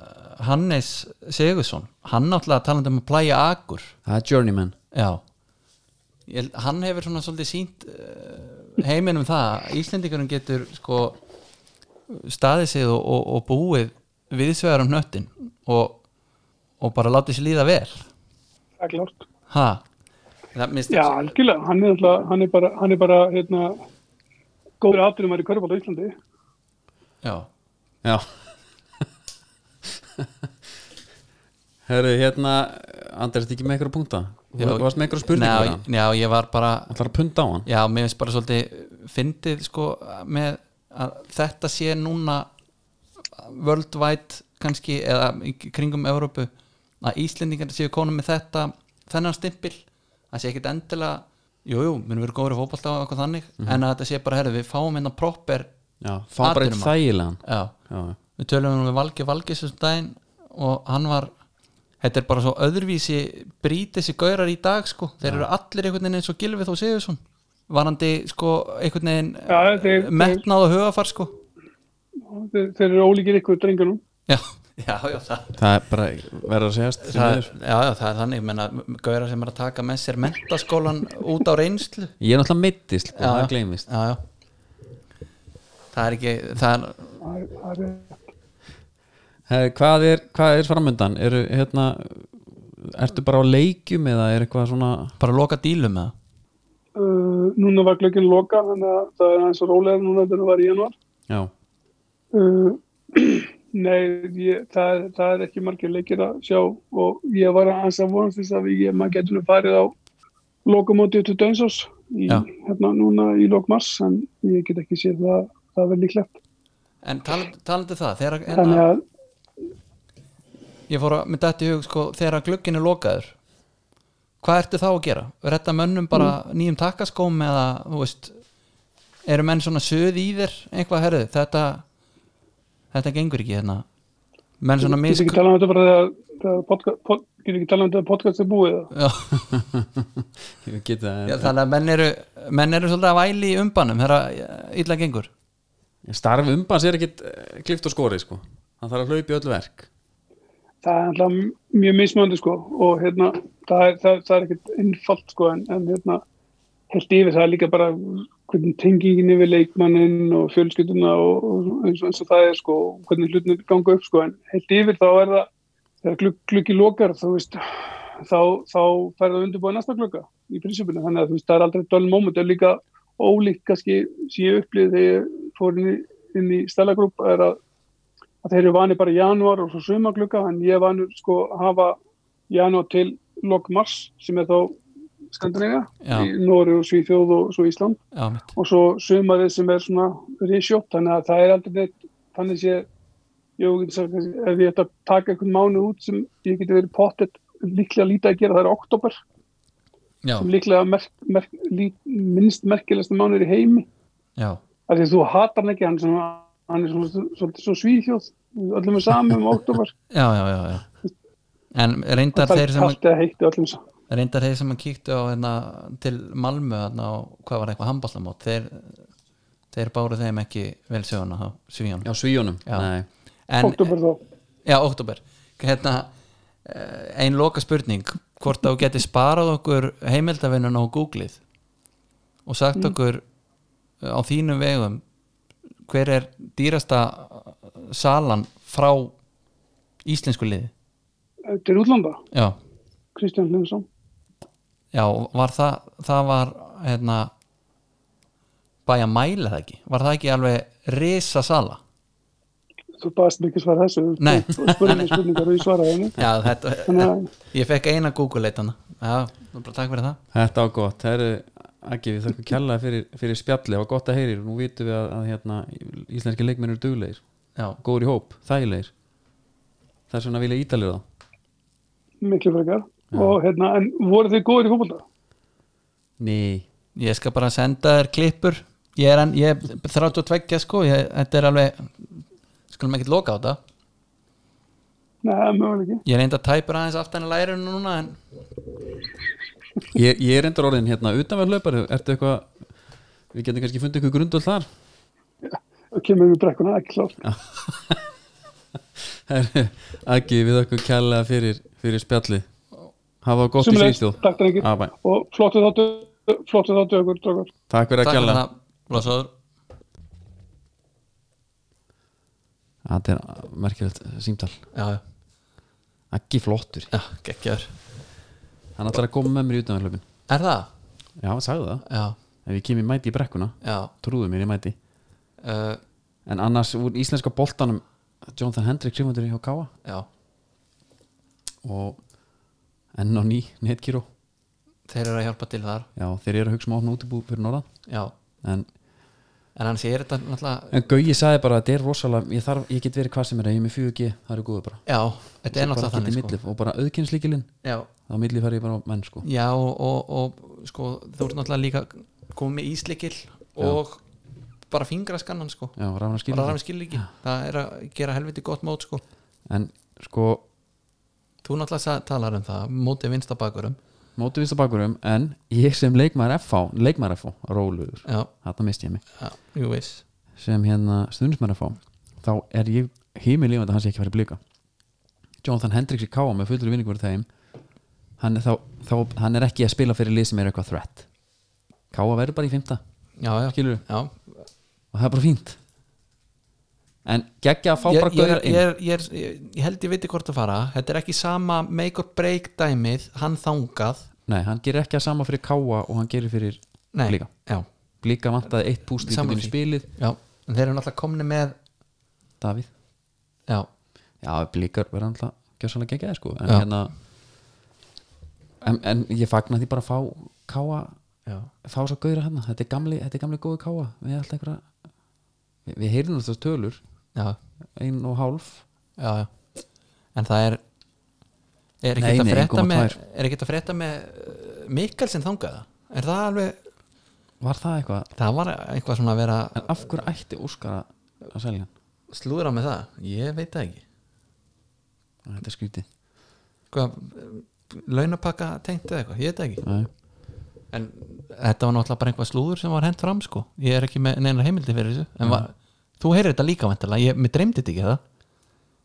S2: Hannes Segursson hann náttúrulega talandi um að plæja agur
S1: það er journeyman
S2: já Ég, hann hefur svona svolítið sínt uh, heiminum það að Íslendingurum getur sko staðið sig og, og, og búið viðsvegar um nöttin og, og bara látið sér líða vel
S3: Það er klart.
S2: ha það minnst
S3: Já, algjörlega, hann er, alltaf, hann er bara, hann er bara, hérna, góður afturum í Körbála Íslandi.
S2: já.
S1: Já Herru, hérna Andri, ertu ekki með einhverja punta? Þú
S2: Já.
S1: varst með einhverja spurningar um
S2: Nei,
S1: hann
S2: já, ég var bara
S1: Það er að punta á hann
S2: já, mér finnst bara svolítið fyndið sko með að þetta sé núna worldwide kannski eða í kringum Evrópu að Íslendingar séu konum með þetta þennan stimpil það sé ekkit endilega jújú, jú, minnum verið góður í fótbolta og eitthvað þannig en að þetta sé bara, herrðu, við fáum hérna proper
S1: Já, fá bara eitt
S2: Atvinnumann.
S1: þægilegan
S2: já,
S1: Já,
S2: við tölum um við Valgi Valgis þessum daginn og hann var þetta er bara svo öðruvísi brít þessi gaurar í dag sko þeir eru allir einhvern veginn eins og Gilvi þó Sigursson varandi sko einhvern veginn
S3: Já, þeir-
S2: eh, metnað og hugafar sko
S3: Þeir, þeir eru ólíkir ykkur drengunum.
S2: já, já, já, það
S1: það er bara verður að segjast því
S2: Það,
S1: miður.
S2: já, já, það er þannig, ég menna gauðar sem er að taka með sér mentaskólan út á reynslu
S1: Ég er náttúrulega meittist og
S2: Já,
S1: það
S2: já.
S1: gleymist
S2: já, já. það er ekki það er,
S3: Það er- það er
S1: Herru, hvað er, hvað er framöndan? Eru, hérna Ertu bara á leikjum eða er eitthvað svona
S2: bara loka dílu með það
S3: Uh, núna var glöggin loka þannig að það er eins og rólega núna þegar það var í januar
S1: Já, (laughs)
S3: uh, (clears throat) Nei, ég, það, er, það er ekki margir leikir að sjá og ég var aðeins að vonast þess að ég, maður getur nú farið á lokamótið til Dönsás í,
S2: Já.
S3: hérna núna í lokmars en ég get ekki séð það, það verður líklegt
S2: en talandi, talandi það, þegar
S3: Þannig
S2: hérna-
S3: að,
S2: ég fór að mynda þetta í hug sko, þegar glugginn er lokaður hvað ertu þá að gera? Retta mönnum bara
S3: Mm.
S2: nýjum takkaskóm eða þú veist eru menn svona söð í þér eitthvað herðu, þetta þetta gengur ekki hérna menn svona
S3: get
S2: misk
S3: ekki talað um þetta bara þegar- þegar podcast- pod- get ekki talað um þetta podcast er búið
S2: Já,
S1: ég geti það
S2: já, þannig að menn eru menn eru svolítið að væli í umbanum þegar eh, illa gengur
S1: Starf umbans er ekkit klift og skori sko Hann þarf að hlaupa í öll verk
S3: það er alltaf mjög mismöndi sko og hérna það er, það, það er ekkert innfalt sko en, en hérna heilt yfir það er líka bara hvernig tengingin yfir leikmannin og fjölskylduna og, og eins, og eins og það er sko, og hvernig hlutinu ganga upp sko, en heilt yfir þá er það þegar glugg, gluggi lokar þá, veist, þá, þá fer það undirbúið næsta glugga í prinsipinu, þannig að þú veist, það er aldrei dull moment, það er líka ólíkt kannski sem ég upplýði þegar ég fór inn í, inn í stælagrúp er að, að þeir eru vanið bara í janúar og svo sumaglugga, en ég er vanið sko að hafa janúar til lok mars sem er þá Skandinavíja,
S2: Já.
S3: í Nóri og Svíþjóð og svo Ísland
S2: já, mitt
S3: og svo sumarið sem er svona resjótt, þannig að það er aldrei neitt, þannig sé ég get sagt, kannski, ef ég ætti að taka einhvern mánu út sem ég geti verið pottet líklega lítið að gera, það er oktober
S2: já,
S3: sem líklega merk, merk, lí, minnst merkilegsta mánuður í heimi
S2: já,
S3: af því að þú hatar hann ekki hann, sem, hann er svona, svolítið svo svíþjóð öllum er sami um oktober
S2: já, já, já, já. en reyndar
S3: það
S2: þeir
S3: er
S2: sem að
S3: kallt eða heitti öllum er sami
S2: reyndar þeir sem að kíktu á hérna, til Malmö hérna, á, hvað var eitthvað handbóllamót þeir, þeir báru þeim ekki vel söguna á svíjan
S1: Já, svíjónum
S2: Já.
S1: Nei.
S2: en,
S3: oktober þá
S2: já, oktober hérna, eh, ein loka spurning hvort þá geti sparað okkur heimildavinnun á Google-ið og sagt okkur eh, á þínum vegum hver er dýrasta salan frá íslensku liði
S3: Eh, til útlanda,
S2: já,
S3: Kristján Hlinsson
S2: Já, var það, það var hérna bæja mæla það ekki var það ekki alveg risasala
S3: þú baðast mig ekki svara þessu
S2: Nei.
S3: þú spurði mig spurningar og ég svaraði henni
S2: Já, þetta,
S3: Þannig að-
S2: ég fekk eina Google leitana Já, nú bara takk fyrir það
S1: Þetta var gott, það eru ekki við þakka kjallaði fyrir, fyrir spjalli, það var gott að heyrir nú vitum við að, að hérna, íslenski leikmennir eru duglegir,
S2: Já,
S1: góður í hóp, þægilegir það er svona að vilja ítalir þá
S3: miklu frekar og hérna, en voru þið góður í fólkvölda?
S1: Ný,
S2: ég skal bara senda þér klippur Ég er, en, ég er 32 sko ég, Þetta er alveg skulum ekkert loka á þetta
S3: Nei, möguleg ekki
S2: Ég er enda tæpur aðeins aftan að læra núna en
S1: ég, ég er endur orðin hérna utanverð hlaupari, ertu eitthvað við getum kannski fundið ykkur grundvöld þar
S3: og kemur við brekkuna, ekki klart
S1: Herru, ekki við þakka kjallaði fyrir, fyrir spjalli hafa það gott í
S3: Sumulegis,
S1: síðstjóð
S3: takk drengir
S1: Ah, bæ.
S3: og flottu þáttu flottu þáttu okkur, drókar
S1: Takk fyrir að
S2: Takk fyrir
S1: kjalla
S2: það, blessaður
S1: Þetta er merkilegt símtal
S2: Já,
S1: ekki flottur,
S2: já, geggjaður
S1: hann ætlar að koma með mér í utanverðlöpin
S2: Er það?
S1: Já, hann sagði það,
S2: Já,
S1: ef ég kemur mæti í brekkuna
S2: já
S1: trúðu mér ég mæti
S2: uh,
S1: en annars úr íslenska boltanum Jonathan Hendrik Simundur hjá Káa
S2: Já,
S1: og enn á ný netkíró
S2: þeir eru að hjálpa til þar
S1: já þeir eru að hugsa um að opna útibú fyrir norðan
S2: Já,
S1: en,
S2: en hann sér þetta náttúrulega
S1: en Gauji sagði bara að þetta er rosalega ég, þarf, ég get verið hvað sem er, ef ég er með 4G það eru góðu bara,
S2: Já, þetta er
S1: Bara allt
S2: náttúrulega
S1: í
S2: þannig sko.
S1: milli, og bara auðkynnslíkilinn
S2: Já,
S1: á milli fer ég bara á menn sko
S2: já og, og, og sko, þú ert náttúrulega líka komið með íslykil og bara fingraskannan sko
S1: já, rafna
S2: bara
S1: skilin
S2: rafum skilríki, það er að gera helviti gott mót sko,
S1: en sko,
S2: þú náttúrulega sa- talar um það mótið vinstabakurum
S1: móti vinsta bakurum en ég sem leikmaður FH leikmaður FH, róluður,
S2: Já,
S1: þarna misti ég mig
S2: já, jú veist
S1: sem hérna stundismenn FH þá er ég heimilífandi að hann sé ekki farið blika Jonathan Hendricks í Káa með fullur vinningur þeim hann er, þá, þá, hann er ekki að spila fyrir lið sem er eitthvað threat Káa verður bara í fymta
S2: Já, já,
S1: Skilurðu?
S2: já
S1: og það er bara fínt en geggja að fá
S2: ég,
S1: bara
S2: ég,
S1: gauðar
S2: er- ég, er- ég, er- ég, ég held ég viti hvort að fara þetta er ekki sama make or break dæmið hann þangað
S1: nei, hann gerir ekki að sama fyrir Káa og hann gerir fyrir
S2: Nei,
S1: blika
S2: já,
S1: blika vantaði eitt púst í
S2: Sammála
S1: byrjun í
S2: því.
S1: spilið
S2: já, en þeir eru náttúrulega komni með
S1: Davíð,
S2: já,
S1: já blikar verður alltaf gjössalega geggjaði sko en,
S2: Já.
S1: hérna, en, en ég fagna því bara að fá Káa
S2: já
S1: fá svo gauðra hérna, þetta er gamli, þetta er gamli góðu káa við erum alltaf einhverja við, við heyrum þess tölur,
S2: já,
S1: ein og hálf
S2: já, já. en það er er
S1: Nei,
S2: ekki
S1: nei,
S2: að frétta
S1: 1,2.
S2: með er ekki að frétta með uh, Mikkelsen þangaða er það alveg,
S1: var það eitthvað,
S2: það var eitthvað svona að vera
S1: en af hverju ætti Óskar að- að selja hann,
S2: slúðra með það, ég veit það ekki
S1: þetta er skrítið
S2: hvað, launapakka tengt eða eitthvað, ég veit það ekki
S1: Nei.
S2: en þetta var náttúrulega bara einhvað slúður sem var hent fram sko, ég er ekki með neina heimildi fyrir þessu en var, þú heyrir þetta líka vantilega, ég, mér dreymdi þetta ekki það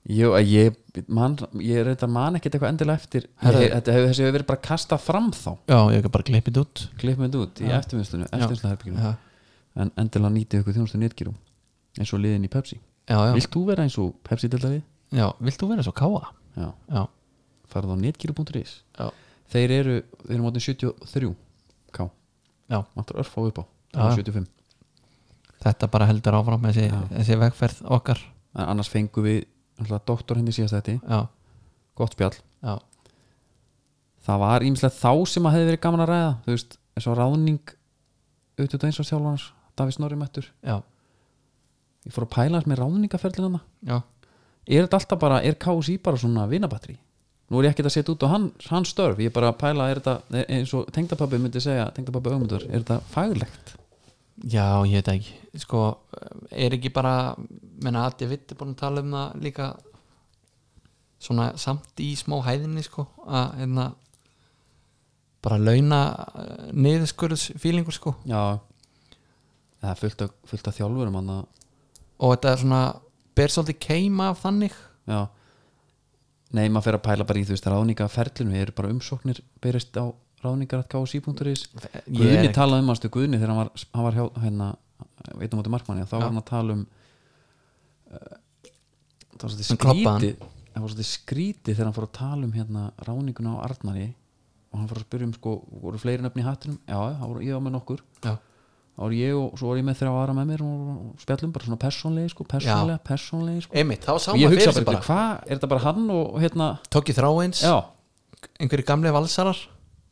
S1: Jú, að ég, man, ég er þetta man ekkert eitthvað endilega eftir ég,
S2: Herra-
S1: hef- þetta hefur þessi hefur verið bara kastað fram þá
S2: já, ég hef bara klippið út
S1: klippmynd út í eftirvinnstunum eftirvinnstunarherbygginu,
S2: já,
S1: en endilega nýtið ykkur þjónustu netgírum eins og liðin í Pepsi
S2: já, já,
S1: Vilt þú vera eins og Pepsi deltari?
S2: já, vilt þú vera svo káa?
S1: Já,
S2: Já,
S1: farað á netgíru.is
S2: já,
S1: Þeir eru, þeir eru mótin 73 K,
S2: já
S1: vantur örf á upp á
S2: Já, já.
S1: 75
S2: þetta bara heldur áfram þessi,
S1: Já.
S2: þessi vegferð okkar
S1: en annars fengum við náttúrulega, doktor hérna henni síðast þetta,
S2: já,
S1: gott spjall
S2: já,
S1: það var ímslega þá sem að hefði verið gaman að ræða þú veist, eins og ráðning auðvitað eins og sjálfans, Davís Norri mættur
S2: já,
S1: ég fór að pæla hans með ráðningaferðin hann
S2: já
S1: er þetta alltaf bara, er KSI bara svona vinabatteri? Nú er ég ekkert að setja út á hann, hann störf, ég er bara að pæla er þetta, er- eins og tengdapabbi myndi segja tengdapabbi augmundur, er þetta faglegt?
S2: Já, ég veit það ekki sko, er ekki bara menna að ég vitt er búin að tala um það líka svona samt í smá hæðinni sko, að hérna bara launa niðurskurðs fílingur sko
S1: Já Það er fullt af, fullt af þjálfurum hann að
S2: og þetta er svona ber svolítið keima af þannig
S1: Já Nei, maður fer að pæla bara í þú veist ráðningaferlinu Ég eru bara umsóknir berist á ráðningar.kc.is
S2: Ég
S1: Guðni
S2: er-
S1: talaði um aðstu Guðni þegar hann var, hann var hjá hérna veitum átti markmanni og þá var hann að tala um uh, það var svolítið
S2: Hann klobbaði
S1: skríti það var svolítið skríti þegar hann fór að tala um hérna ráninguna á Arnari og hann fór að spyrja um sko, voru fleiri nöfni í hattinum já, já, það voru, ég var með nokkur
S2: já,
S1: þá var ég og svo var ég með þrjá aðra með mér og, og spjallum bara svona persónlega sko, persónlega, persónlega sko.
S2: einmitt, þá sá
S1: og ég
S2: maður
S1: hugsa
S2: fyrir sig
S1: bara, bara
S2: bara
S1: hvað, er þetta bara hann og hérna,
S2: tók ég þráins,
S1: já,
S2: einhverju gamli valsarar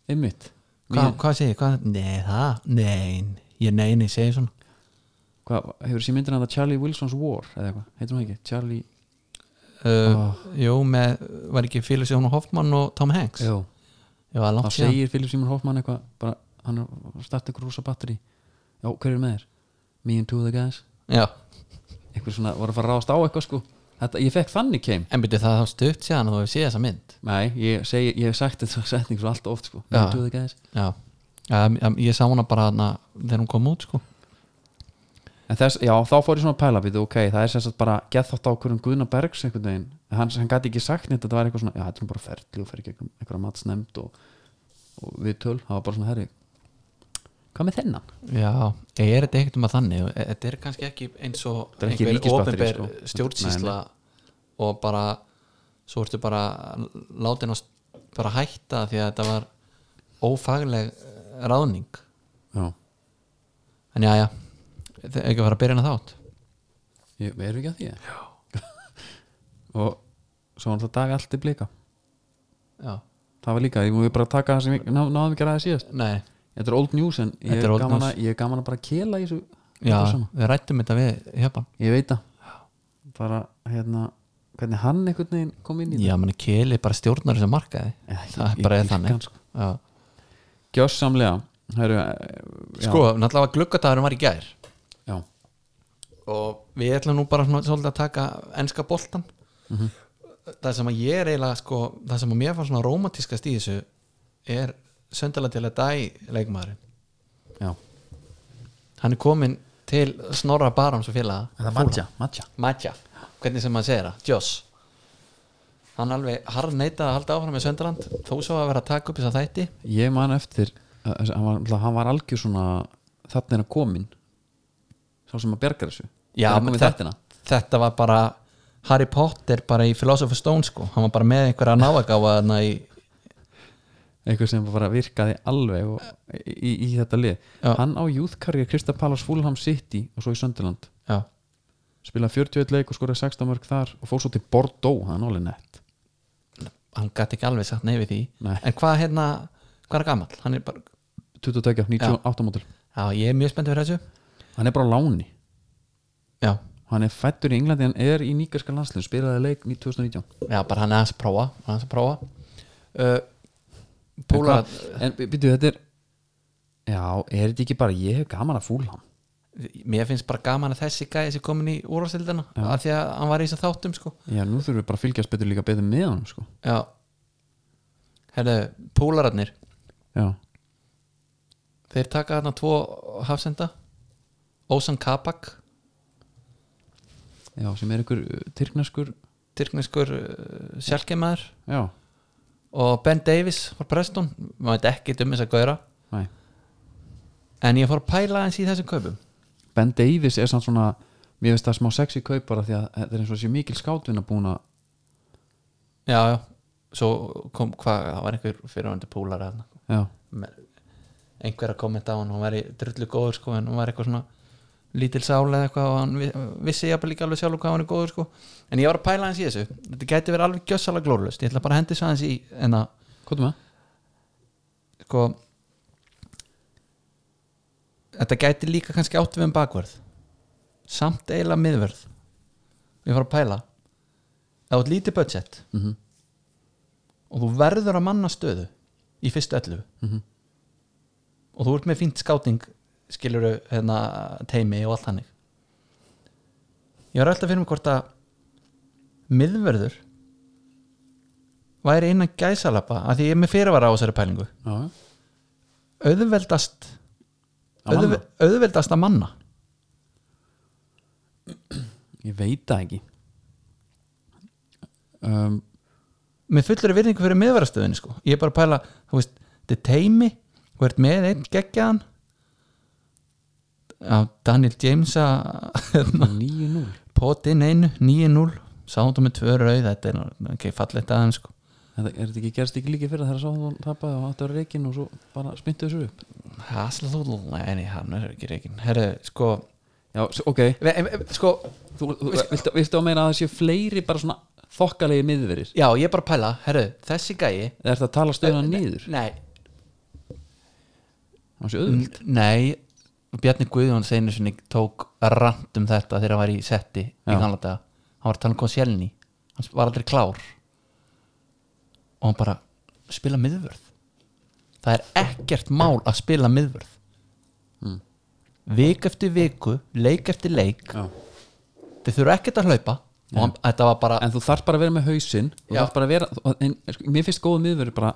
S1: einmitt
S2: Hva,
S1: Mér-
S2: hvað segir, hvað, nei það nein, ég nein, ég segi svona
S1: hvað, hefur sér myndin að Charlie Wilson's War eða eitthvað, heitir hún ekki, Charlie
S2: uh, jú, með, var ekki Félix Jónu Hoffmann og Tom Hanks
S1: Jó,
S2: Já, það er
S1: þá
S2: langt síðan
S1: segir Philip Simon Hoffman eitthvað bara, hann er að starta ykkur rúsa batteri já, hver er með þér? me and two of the guys
S2: Já,
S1: eitthvað svona, voru að fara að ráðast á eitthvað sko þetta, ég fekk þannig kem
S2: en byrju það er þá stutt síðan að þú hefur séð þessa mynd
S1: nei, ég, segi, ég hef sagt þetta (laughs) setning svo allt oft sko me and
S2: Já.
S1: two of the guys
S2: Já, um, um, ég sá hana bara na, þegar hún kom út sko
S1: en þess, já, þá fór ég svona að pæla býtu, ok, það er sem sagt bara gett þátt á hverjum Guðna Bergs einhvern veginn, hann, hann gæti ekki sagt neitt þetta var eitthvað svona, já, þetta er nú bara ferli og fer ekki einhverja matsnemnd og, og við töl, það var bara svona herri hvað með þennan?
S2: Já, ég er þetta ekkert um að þannig e- Þetta er kannski ekki eins og
S1: Þetta er ekki ríkisbatterí,
S2: opinber
S1: sko.
S2: stjórnsýsla og bara svo ertu bara látin að bara hætta því að þetta var ófagleg eh, ráðning
S1: já,
S2: En já, já, þetta er ekki að fara að byrja hana þátt
S1: Ég, við erum ekki að því Já (laughs) Og svo var alltaf daga allt í blika
S2: Já,
S1: Það var líka, ég múið bara taka það sem ég ná, náðum ekki að ræða síðast
S2: nei,
S1: Þetta er old news en ég
S2: Þetta er
S1: er,
S2: old
S1: gaman
S2: news.
S1: að, ég er gaman að bara kela í þessu
S2: já,
S1: öllu saman.
S2: við rættum þetta við hefðan
S1: Ég veit það Bara hérna, hvernig hann einhvern veginn kom inn í
S2: Já, menn Keli bara stjórnar þessu markaði
S1: Já,
S2: Það
S1: ég-
S2: er bara
S1: ég
S2: er
S1: dýrka hann,
S2: þannig
S1: sko.
S2: Já.
S1: þetta Gjössamlega Heru, eh, já,
S2: Sko, náttúrulega var gluggadagurinn var í gær
S1: já,
S2: og við ætlum nú bara svona, svolítið að taka enska boltan
S1: Mhm.
S2: Það sem að ég er eiginlega sko, það sem að mér fann svona romantískast í þessu er söndalega til að dæ leikmaðurinn
S1: já
S2: Hann er komin til Snorra Barons og félaga
S1: matja, matja
S2: Matja, hvernig sem maður segir það, Joss Hann alveg harð neitað að halda áfram með Söndaland þó svo að vera að taka upp þess að þætti
S1: Ég man eftir, uh, þessi- hann var, náttúrulega- hann var algjör svona Þarna er að komin Sá sem að bergar þessu
S2: Já,
S1: Þegar hann
S2: menn
S1: kom í
S2: þetta,
S1: þættina.
S2: þetta var bara Harry Potter bara í Philosopher's Stone sko hann var bara með einhverja náðagáfa þarna í
S1: einhver sem bara virkaði alveg og, í, í þetta lið
S2: Já.
S1: hann á júðkarrið Krista Pallas Fulham City og svo í Sönderland
S2: já,
S1: spilaði 41 leik og skoraði 16 mörg þar og fór svo til Bordeaux, það er nálega nett
S2: hann gæti ekki alveg sagt nei við því
S1: Nei.
S2: en hvað hérna, hvað er gamall hann er bara,
S1: 22, 98 mótil
S2: já ég er mjög spennt fyrir þessu
S1: hann er bara á láni,
S2: já,
S1: hann er fættur í Englandi hann er í nýgarska landslið, spilaði leik 2019
S2: já bara hann er aðeins að prófa hann er aðeins að prófa uh,
S1: En
S2: Pólar
S1: hvað- en byrju þetta er já, er þetta ekki bara ég hef gaman að Fulham
S2: mér finnst bara gaman að þessi gæði sem komin í úrvastildina af því að hann var í þess að þáttum sko
S1: já, nú þurfum við bara að fylgjast betur líka betur með hann sko.
S2: já, herðu, pólararnir
S1: já,
S2: Þeir taka þarna tvo hafsenda Ósan Kabak
S1: já, sem er einhver uh, tyrkneskur
S2: Tyrkneskur uh, sjálfgeimaður
S1: já,
S2: Og Ben Davis var Preston Maður veit ekki um þess að gauðra
S1: næ
S2: En ég fór að pæla eins í þessum kaupum
S1: Ben Davies er samt svona mér finnst það smá sexy kaup bara því að þetta er eins og sé mikil skátvinna búin að
S2: já, já svo kom hvað, það var einhver fyrirvændi púlar eða
S1: já,
S2: einhver að kommenta á hann, hún var í drullu góður sko, en hún var eitthvað svona lítil sál eða eitthvað og hann vi- vissi ég líka alveg sjálf hvað hann er góður sko en ég var að pæla hans í þessu, þetta gæti verið alveg gjössalega glórlust, ég ætla bara að hendi svo hans í en að,
S1: hvað er með?
S2: sko þetta gæti líka kannski átt við um bakvörð samt eiginlega miðvörð ég var að pæla ef þú ert lítið budget
S1: Mm -hmm.
S2: og þú verður að manna stöðu í fyrstu ellu
S1: Mhm.
S2: og þú ert með fínt skáting skiluru hérna teimi og allt hannig ég var alltaf að finna um hvort að miðverður væri innan gæsalappa af því ég er með fyrirvara á þessari pælingu
S1: já, já.
S2: auðveldast
S1: Að manna?
S2: auðve- auðveldast að manna
S1: ég veit það ekki (laughs) um,
S2: með fullari virðingu fyrir miðverðarstöðinni sko. ég er bara að pæla, þú veist, þetta er teimi þú ert með einn geggjaðan Já, Daniel James að
S1: 9-0
S2: potinn einu, 9-0 sáðum með tvö rauð, þetta er nú- ok, fallegt aðeins sko.
S1: Þetta, er þetta ekki gerst ekki líka fyrir þegar Sáðan tapaði og átti að vera reikinn og svo bara spyntu þessu upp
S2: Haslúl, nei, hann er ekki reikin herru, sko,
S1: Já, s- ok,
S2: ve- em- em- sko
S1: þú, þú viltu, viltu að meina að það séu fleiri bara svona þokkalegi miðverir
S2: já, ég er bara að pæla, herru, þessi gæi
S1: eða er þetta að tala stöðuna nýður
S2: nei,
S1: það séu auðvöld
S2: N- Nei, Bjarni Guðjón einu sinni tók rant um þetta þegar hann var í setti í
S1: Já.
S2: gamla daga hann var að tala um Koscielny hann var aldrei klár og hann bara spila miðvörð það er ekkert mál að spila miðvörð
S1: Hmm.
S2: vik eftir viku leik eftir leik
S1: Já.
S2: þið þurfa ekkert að hlaupa og hann, þetta var bara
S1: en þú þarf bara að vera með hausinn þú
S2: Já.
S1: þarf bara að vera, og- en, sko, mér finnst góð miðverir bara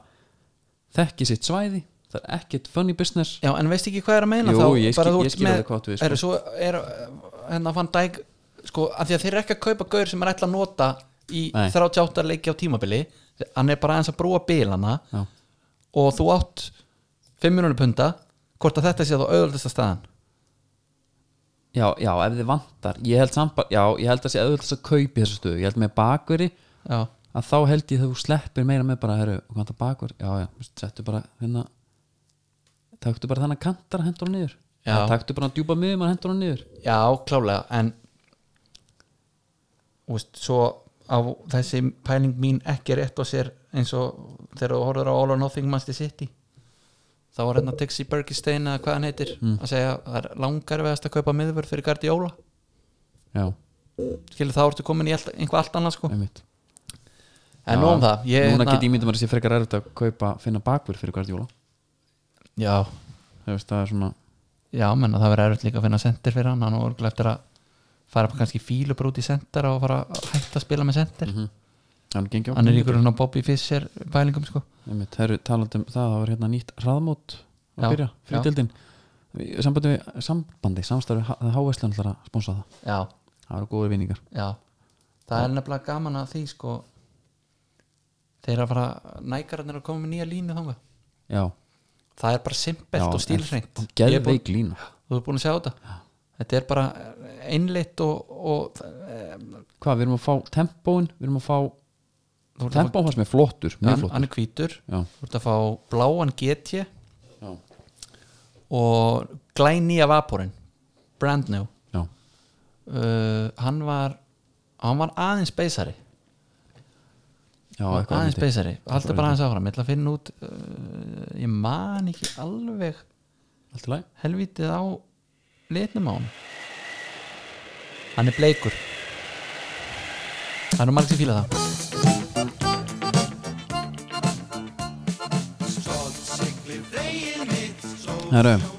S1: þekki sitt svæði það er ekkert funny business
S2: Já, en veist ekki hvað ég er að meina
S1: Jú,
S2: þá
S1: ég skil-
S2: bara þú
S1: ég
S2: ert
S1: skil
S2: með-
S1: alveg hvað þú við, sko.
S2: Heyrðu, svo er uh, hérna fann dæk sko, af því að þeir eru ekki að kaupa gaur sem er ætla að nota í
S1: Nei.
S2: 38 leiki á tímabili hann er bara aðeins að brúa bílana
S1: Já.
S2: og þú átt 5 minúni punda hvort að þetta sé þá auðvöldasta staðan
S1: já, já, ef þið vantar ég held samt bara, já, ég held að sé auðvöldast að kaupi þessu stöðu, ég held með bakveri
S2: Já,
S1: að þá held ég þegar þú sleppir meira með bara, herru, hvað það bakur já, já, þú veist, settu bara hérna taktu bara þannig kantar að hendur hann niður
S2: Já.
S1: Eða taktu bara djúpa miðum að hendur hann niður
S2: já klálega en þú veist, svo á þessi pæling mín ekki rétt á sér eins og þegar þú horfður á All or Nothing Master City þá var hérna Dixie Bergistein eða hvað hann heitir
S1: Mm.
S2: að segja að það er langar veðast að kaupa miðvörð fyrir Guardiola
S1: já,
S2: skilur þá ertu komin í allt, einhvað allt annað sko
S1: einmitt
S2: en nóg um það ég,
S1: núna get ég myndum að sé frekar erfitt að kaupa finna bakvör fyrir Guardiola
S2: já,
S1: það veist, það er svona
S2: já, menna það verður erfitt líka að finna sendir fyrir hann hann og örgulega eftir að fara upp kannski fílubr út í sendir og fara að hætta að spila með sendir
S1: Mhm. hann gengi á
S2: hann er ykkur hann á Bobby Fischer pælingum sko
S1: einmitt, það eru talandi um það, það var hérna nýtt hraðmót að
S2: Já,
S1: byrja,
S2: já.
S1: frítildin sambandi, við- sambandi, samstarfi það hávæslan ætlar að sponsa það,
S2: já,
S1: það eru góður vinningar
S2: Já, það er nefnilega gaman að því sko þeir að fara nækararnir að koma með nýja línu þanga
S1: já,
S2: það er bara simpelt og stílhreint Ég er búinn-
S1: geðveik lína
S2: þú er búin að sjá þetta þetta er bara einleitt og, og
S1: hvað, við erum að fá tempóin við erum að fá,
S2: þú ert að fá,
S1: tempóin fannst mér flottur mjög
S2: hann,
S1: flottur
S2: hann er hvítur
S1: já,
S2: þú ert að fá bláan GT
S1: Já.
S2: og glænýja vaporinn brand new
S1: já,
S2: uh, hann var hann var aðeins beysari
S1: já, eitthvað
S2: aðeins
S1: lítið.
S2: beysari, haldur
S1: Eitthvað
S2: bara aðeins áfram ég ætla að finna út uh, ég man ekki alveg
S1: allt í lagi,
S2: helvítið á litnum á hann hann er bleikur það er nú margir sem fíla það
S1: herru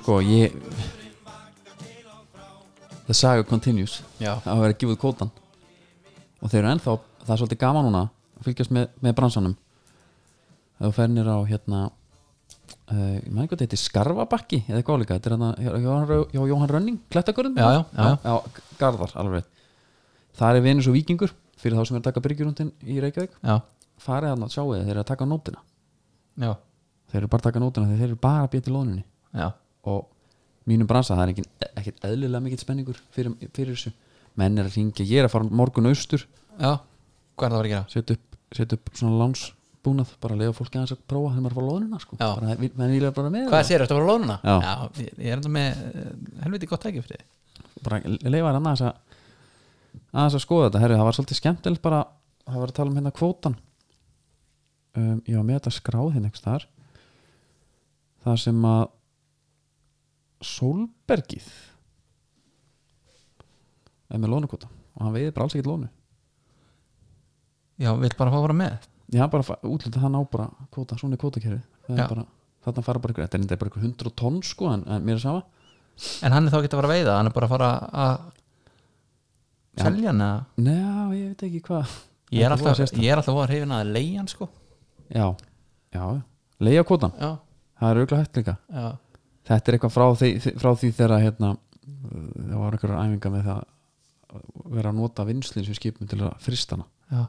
S1: sko, ég the saga continues
S2: já,
S1: það var að gefa út kótan og þeir eru ennþá, það er svolítið gaman núna að fylgjast með, með bransanum þegar þú fernir á hérna uh, ég maður eitthvað þetta er Skarfabakki eða eitthvað líka, þetta er hérna hjá- hjá Jóhann- hjá Jóhann Rönning, Klettakurinn
S2: Já, já, já, já.
S1: Garðar, alveg rétt. það er vinur svo vikingur fyrir þá sem er að taka byrgjurundin í Reykjavík
S2: já,
S1: farið hann að sjáu þeir eru að taka nótina
S2: já,
S1: þeir eru bara að taka nótina þegar þeir eru bara að býta í lóninni
S2: já
S1: og mínum bransa, það er ekki, ekkit eðlilega mikill spenningur fyrir, fyrir þessu menn er að hringja, ég er að fara morgun austur
S2: já, hvað er það að vera að gera?
S1: setja upp, setja upp svona lánsbúnað bara að lega fólki aðeins að prófa þegar maður fara lóðunina sko.
S2: Já.
S1: bara, vil- menn vilja bara með
S2: Hvað sér, ertu að fara á lónuna?
S1: Já.
S2: já ég- ég er enda með eh, helviti gott tæki fyrir þið
S1: bara leifa hann aðeins að aðeins að skoða þetta, herri, það var svolítið skemmtilegt bara, það var að tala um hérna kvótan um, ég var með þetta skráð hérna ekki þar það sem að Solbergið er með lónukvóta og hann veiði bara alls ekkert lónu
S2: Já, vill bara fá að fara með
S1: ég hann bara útlitað hann á bara kvóta, svona er kvótakerfið Það
S2: Já.
S1: er bara- þarna fara bara ykkur, þetta er enda bara ykkur 100 tonn sko, en, en mér er sama
S2: En hann er þá ekki að fara að veiða, hann er bara að fara að
S1: Já.
S2: selja hann eða
S1: Njá, ég veit ekki hvað
S2: Ég er
S1: Þetta
S2: alltaf,
S1: voru sérstakt.
S2: ég er alltaf að hrifin að leiði hann sko
S1: Já, já, leiða kvótan
S2: Já,
S1: það er auðvitað hægt líka
S2: já,
S1: þetta er eitthvað frá því, frá því þegar að, hérna, það var einhverjar æfinga með það að vera að nota vinslinn sem skipum til að frista hana
S2: já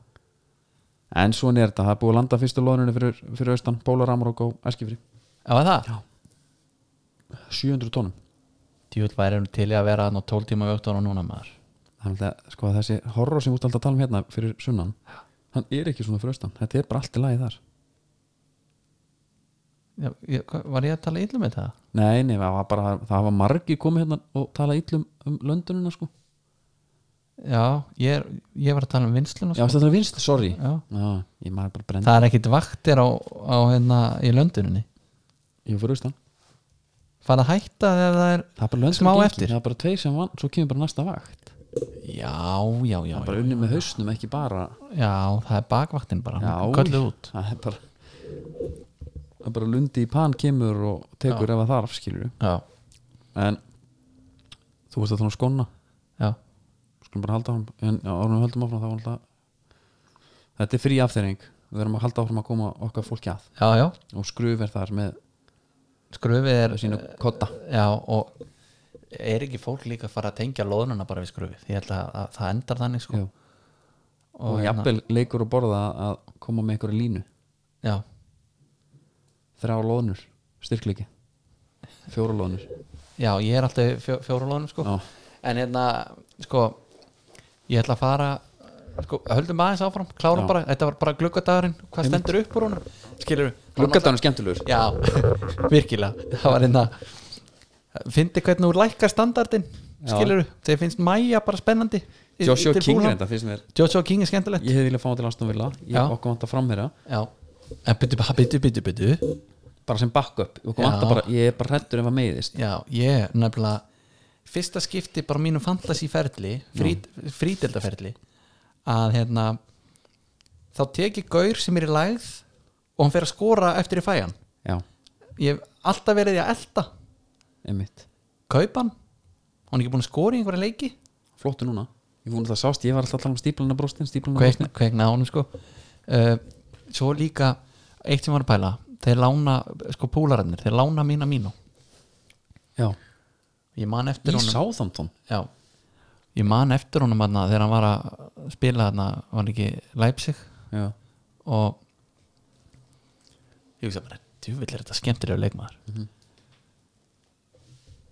S1: en svona er þetta, það er búið að landa fyrstu loðuninu fyrir, fyrir austan, Bólar Amarok og Eskifri
S2: Já, er það?
S1: Já. 700 tónum
S2: Djúl væri hann til í að vera nú 12 tíma vögt ára núna maður
S1: þannig að sko, að þessi horror sem út alltaf að tala um hérna fyrir sunnan hann er ekki svona fyrir austan, þetta er bara allt í lagi þar
S2: já, ég, hvað- Var ég að tala um illum með það?
S1: nei, nei, það var bara, það hafa margir komið hérna og tala illum um löndunina sko.
S2: Já, ég, er, ég var að tala um vinsluna
S1: já,
S2: sko.
S1: þetta er vinsl, sorry
S2: já.
S1: já, ég maður bara brenda
S2: Það er ekkit vaktir á, á hérna í lönduninni
S1: ég fyrir austan
S2: Fara að hætta þegar það er
S1: það er bara löndun
S2: Smá
S1: og gengi.
S2: eftir.
S1: það er bara tveir sem vann, svo kemur bara næsta vakt
S2: Já, já, já,
S1: það er
S2: já,
S1: bara unni með hausnum, ekki bara
S2: já Það er bakvaktin bara,
S1: Já,
S2: kölluð út
S1: það er bara það er bara lundi í pan kemur og tekur ef að þarf skilur
S2: Já,
S1: en þú veist að það er skonna
S2: já,
S1: skulum bara halda áfram en árum við höldum áfram þá var alltaf þetta er frí afþyring við verðum að halda áfram að koma okkar fólki að
S2: já, já.
S1: og skruf er þar með
S2: Skrufið er
S1: sína kotta
S2: Já, og er ekki fólk líka að fara að tengja loðnuna bara við skrufið Ég held að, að það endar þannig sko hérna-
S1: Jú. og hérna- jafnvel leikur og borða að koma með einhverju línu
S2: Já,
S1: þrjá lóðnur, styrkleiki fjóra lóðnur
S2: já, ég er alltaf í fjó, fjóru loðnum sko
S1: Já.
S2: En hérna, sko Ég ætla að fara sko, Höldum aðeins áfram, klárum
S1: Já.
S2: bara Þetta var bara gluggadagurinn, hvað stendur upp úr honum Skilur við
S1: Gluggadagurinn er skemmtilegur
S2: Já, (laughs) virkilega Það var hérna Fyndi hvernig úr lækka standardin
S1: Já.
S2: Skilur við, þegar finnst Maja bara spennandi í-
S1: Joshua
S2: til
S1: King
S2: Fulham.
S1: reynda finnst mér
S2: Joshua King er skemmtilegt
S1: Ég hefði vilja fá hann til Aston Villa Ég
S2: Já.
S1: okkur vant að framherja
S2: Já, en byttu, byttu, byttu, byttu
S1: Bara sem backup Okkur
S2: Já.
S1: vant bara Ég er bara hrættur ef að meiðist
S2: Já, ég er nefnilega Fyrsta skipti bara á mínum fantasíferli frít, Frítildaferli Að hérna Þá tek ég gaur sem er í lægð Og hann fer að skora eftir í fæjan
S1: Já,
S2: Ég hef alltaf verið í að elta
S1: einmitt
S2: Kaupan Hann er ekki búin að skora í einhverja leiki
S1: Flottu núna Ég vona það sást Ég var alltaf að tala um stíplana brostin Stíplana
S2: kveikna, kveikna á honum sko uh, svo líka eitt sem var að pæla þeir lána, sko púlararnir þeir lána mína mínu
S1: Já
S2: ég man eftir
S1: Í
S2: honum
S1: Southampton
S2: já, ég man eftir honum hana, þegar hann var að spila hana, var hann ekki Leipzig
S1: Já
S2: og ég hugsa bara, djúvill er þetta skemmtir ef leikmaður
S1: Mhm.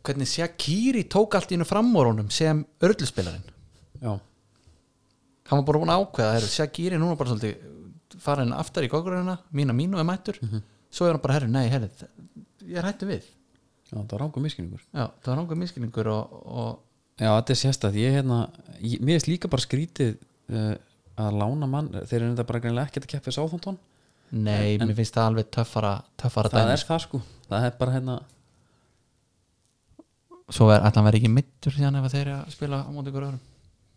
S2: hvernig Shakiri tók allt í hennu framórunum sem örluspilarinn
S1: Já
S2: hann var bara búin að ákveða herru, Shakiri er núna bara svolítið farin aftar í kókurina, mína mínu er mættur
S1: Mhm.
S2: svo er hann bara, herru, nei, herru ég er hættu við,
S1: Já, það var rángum miskinningur
S2: já, það var náttúrulega miskinningur og, og
S1: Já, þetta er sérstætt Ég hérna ég, Mér finnst líka bara skrítið uh, Að lána mann Þeir eru þetta bara greinlega ekkert að keppa við Southampton
S2: nei, mér finnst það alveg töffara töffara
S1: Það
S2: dæmis,
S1: er það sko Það er bara hérna
S2: svo er að hann verði ekki mittur síðan ef að þeir eru að spila á móti ykkur öðrum,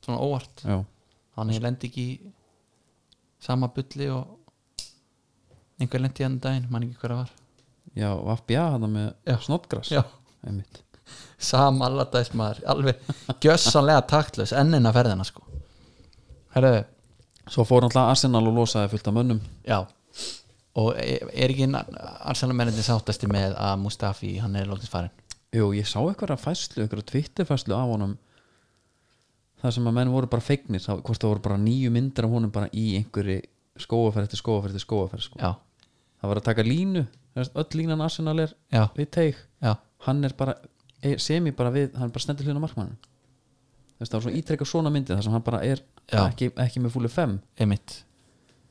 S2: svona óvart
S1: Já
S2: þannig ég lendi ekki í sama bulli og einhver lendi hann daginn, man ekki hverja var
S1: Já, og FBA hann með
S2: Já.
S1: Snodgrass
S2: já,
S1: Einmitt
S2: sama alladags maður, alveg gjössanlega taktlaus ennina ferðina sko herru,
S1: Svo fór náttúrulega Arsenal og losaði fullt af mönnum
S2: Já og er er ekki Arsenal mennindin sáttasti með að Mustafi hann er lóknins farin
S1: Jú, ég sá eitthvað fæslu, eitthvað tvittifæslu af honum þar sem að menn voru bara feignir þá- hvort það voru bara nýju myndir af honum bara í einhverju skóaferð eftir skóaferð eftir skóaferð sko.
S2: já,
S1: það var að taka línu, þú veist, öll línan Arsenal er
S2: já,
S1: við teig,
S2: já,
S1: hann er bara er- sem ég bara við hann bara stendur hljóna markmann þess að það var svona ítrekka svona myndið þar sem hann bara er
S2: Já.
S1: ekki, ekki með fúli 5
S2: einmitt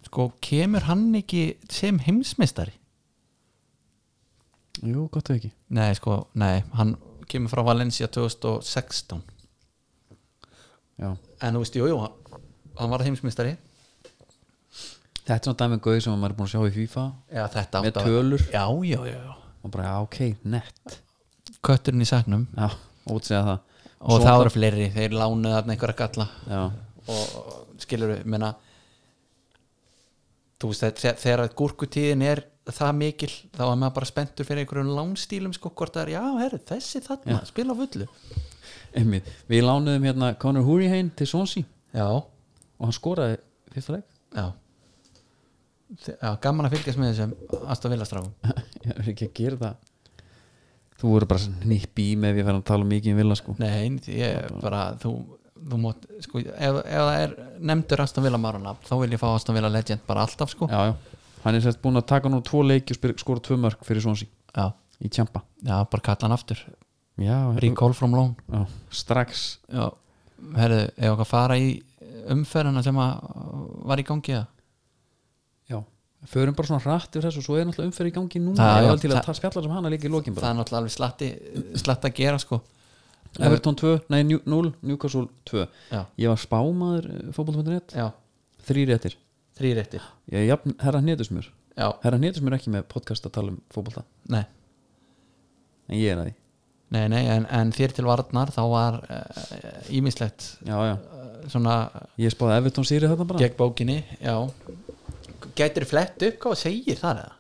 S2: sko kemur hann ekki sem heimsmeistari
S1: jú, gott og ekki
S2: nei sko, nei, hann kemur frá Valencia 2016
S1: já.
S2: en þú veist, jú, jú, hann, hann var heimsmeistari
S1: þetta er svona dæmið gauð sem maður er búin að sjá í FIFA
S2: já, þetta
S1: með
S2: átti að-
S1: tölur
S2: já, já, já, já
S1: og bara já, ok, nett
S2: kötturinn í saknum
S1: já, útsega það
S2: og það voru fleiri, þeir lánuðu þarna einhverja galla
S1: já,
S2: og skilur við, menna þú veist, þegar- þegar gúrkutíðin er það mikil, þá er maður bara spenntur fyrir einhverjum lánstílum, sko, hvort það er já, herru, þessi þarna, spila á fullu
S1: einmitt, við lánuðum hérna Conor Hurricane til Sonsi
S2: já,
S1: og hann skoraði fyrsta leik (laughs)
S2: já Þe- Já, gaman að fylgjast með þessum Asta Vilastráum
S1: ég er ekki að gera það þú voru bara nýpp í með við færum að tala mikið um vilja sko
S2: Nei, ég bara þú, þú mátt, sko, ef, ef það er nefndur Aston Villa Marana, þá vil ég fá Aston Villa Legend bara alltaf, sko
S1: já, já. hann er sérst búin að taka nú tvo leiki og spyr- skora tvö mörg fyrir Sonsi
S2: já,
S1: í tjampa
S2: já, bara kalla hann aftur
S1: já,
S2: Recall from loan
S1: já, strax
S2: Já, herðu, ef okkar fara í umferðina sem að var í gangi eða?
S1: já, förum bara svona rætt yfir þessu og svo er náttúrulega umferð í gangi núna
S2: Já,
S1: já,
S2: já,
S1: til að
S2: það-
S1: það spjallar sem hana líka í lokin
S2: það
S1: bara
S2: er náttúrulega alveg slatti, slatti að gera sko
S1: Everton 2, nei 0, Newcastle 2
S2: Já.
S1: ég var spámaður fótboll.net
S2: já,
S1: þrýr réttir,
S2: þrýrættir
S1: ég er jafn herra hnetusmjör
S2: já,
S1: herra hnetusmjör ekki með podcast að tala um fótbollta
S2: nei,
S1: en ég er að því,
S2: nei, nei en, en þér til varnar þá var eh, ímislegt
S1: já, já
S2: uh, svona
S1: ég spáði Everton sýri þetta bara
S2: gegn bókinni, já gætir flett upp hvað þú segir þar eða?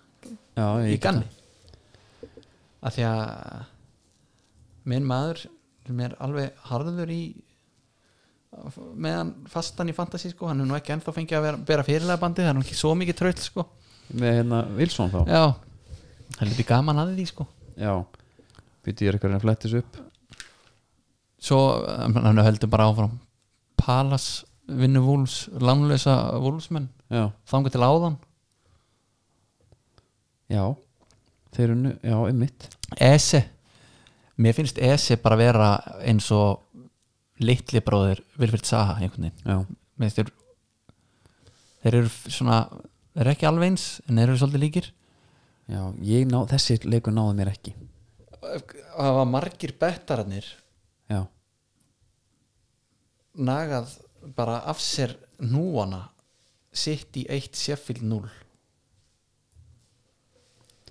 S1: já, ég
S2: í
S1: get
S2: ganni
S1: það.
S2: að því að minn maður sem er alveg harður í meðan fastan í fantasy sko, hann er nú ekki ennþá fengið að vera, bera fyrirlega bandið, hann er nú ekki svo mikið tröll sko.
S1: með hérna Wilson þá
S2: já, það er lítið gaman að því sko.
S1: já, býtti ég er eitthvað að fletti þessu upp
S2: svo um, hann heldur bara áfram Palas vinnu vúls lánlösa vúlsmenn
S1: já,
S2: þangar til áðan
S1: já þeir eru nú, já, einmitt
S2: Ese mér finnst Ese bara vera eins og litli bróðir Vilfrild Saha einhvern veginn
S1: já,
S2: með þeir þeir eru f- svona þeir eru ekki alveg eins en þeir eru svolítið líkir
S1: já, ég ná, þessi leikur náði mér ekki
S2: það var margir bettararnir
S1: já,
S2: nagað bara af sér núana sitt í eitt Sheffield 0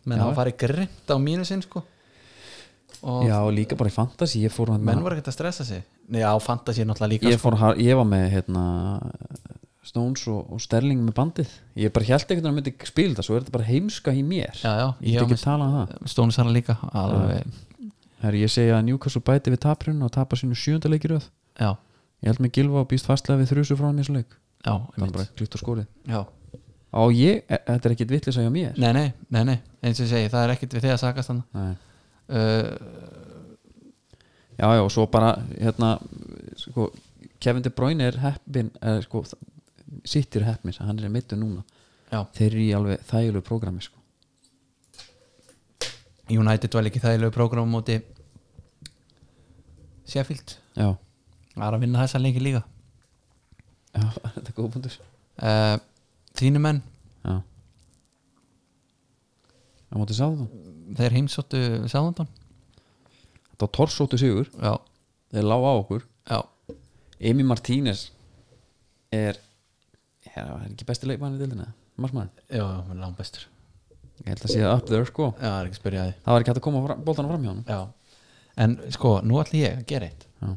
S2: menn
S1: Já.
S2: það farið grimt á mínusinn sko og
S1: já, og líka bara í fantasy ég fór,
S2: menn
S1: hérna,
S2: voru ekkert að stressa sig já, fantasy er náttúrulega líka
S1: ég, fór har- ég var með hérna Stones og, og Sterling með bandið ég bara held ekkert að hann myndi spila það svo er þetta bara heimska í mér
S2: Já, já,
S1: ég get
S2: ég var
S1: ekki að tala um það
S2: Stónisara líka alveg,
S1: Herri, ég segja að Newcastle bæti við taprinu og tapar sínu sjöndalegiröð
S2: já,
S1: ég held með Gilva og býst fastlega við þrjusu frá hann í þessu leik
S2: já,
S1: það er
S2: einmitt.
S1: bara klíkt á skórið
S2: já.
S1: á ég, e- þetta er ekkit vitlis að hjá mér
S2: Nei, nei, nei, nei, eins og ég segi það er ekkert við þig að sakast hann
S1: Nei.
S2: uh,
S1: já, já, og svo bara hérna, sko, Kevin De Bruyne er heppin, er, sko sittir heppin, hann er meittu núna
S2: já,
S1: þeir eru í alveg þægilegu prógrami sko.
S2: United var ekki þægilegu prógram á móti Sheffield
S1: já,
S2: það er að vinna þessa leiki líka
S1: já, (laughs) þetta er góð punktur
S2: uh, þínu menn,
S1: já á móti sáðu
S2: þeir heimsóttu Sáðandón,
S1: þetta var torsóttu sigur,
S2: já,
S1: þeir lág á okkur
S2: já
S1: Emi Martínez er já, er ekki besti leikmann í dildina margmann,
S2: já, já, langt bestur,
S1: ég held að sé það up there sko
S2: já, það er ekki spyrjaði
S1: það var ekki hægt að koma bóltana fram hjá honum
S2: já, en sko, nú ætlum ég að gera eitt
S1: já,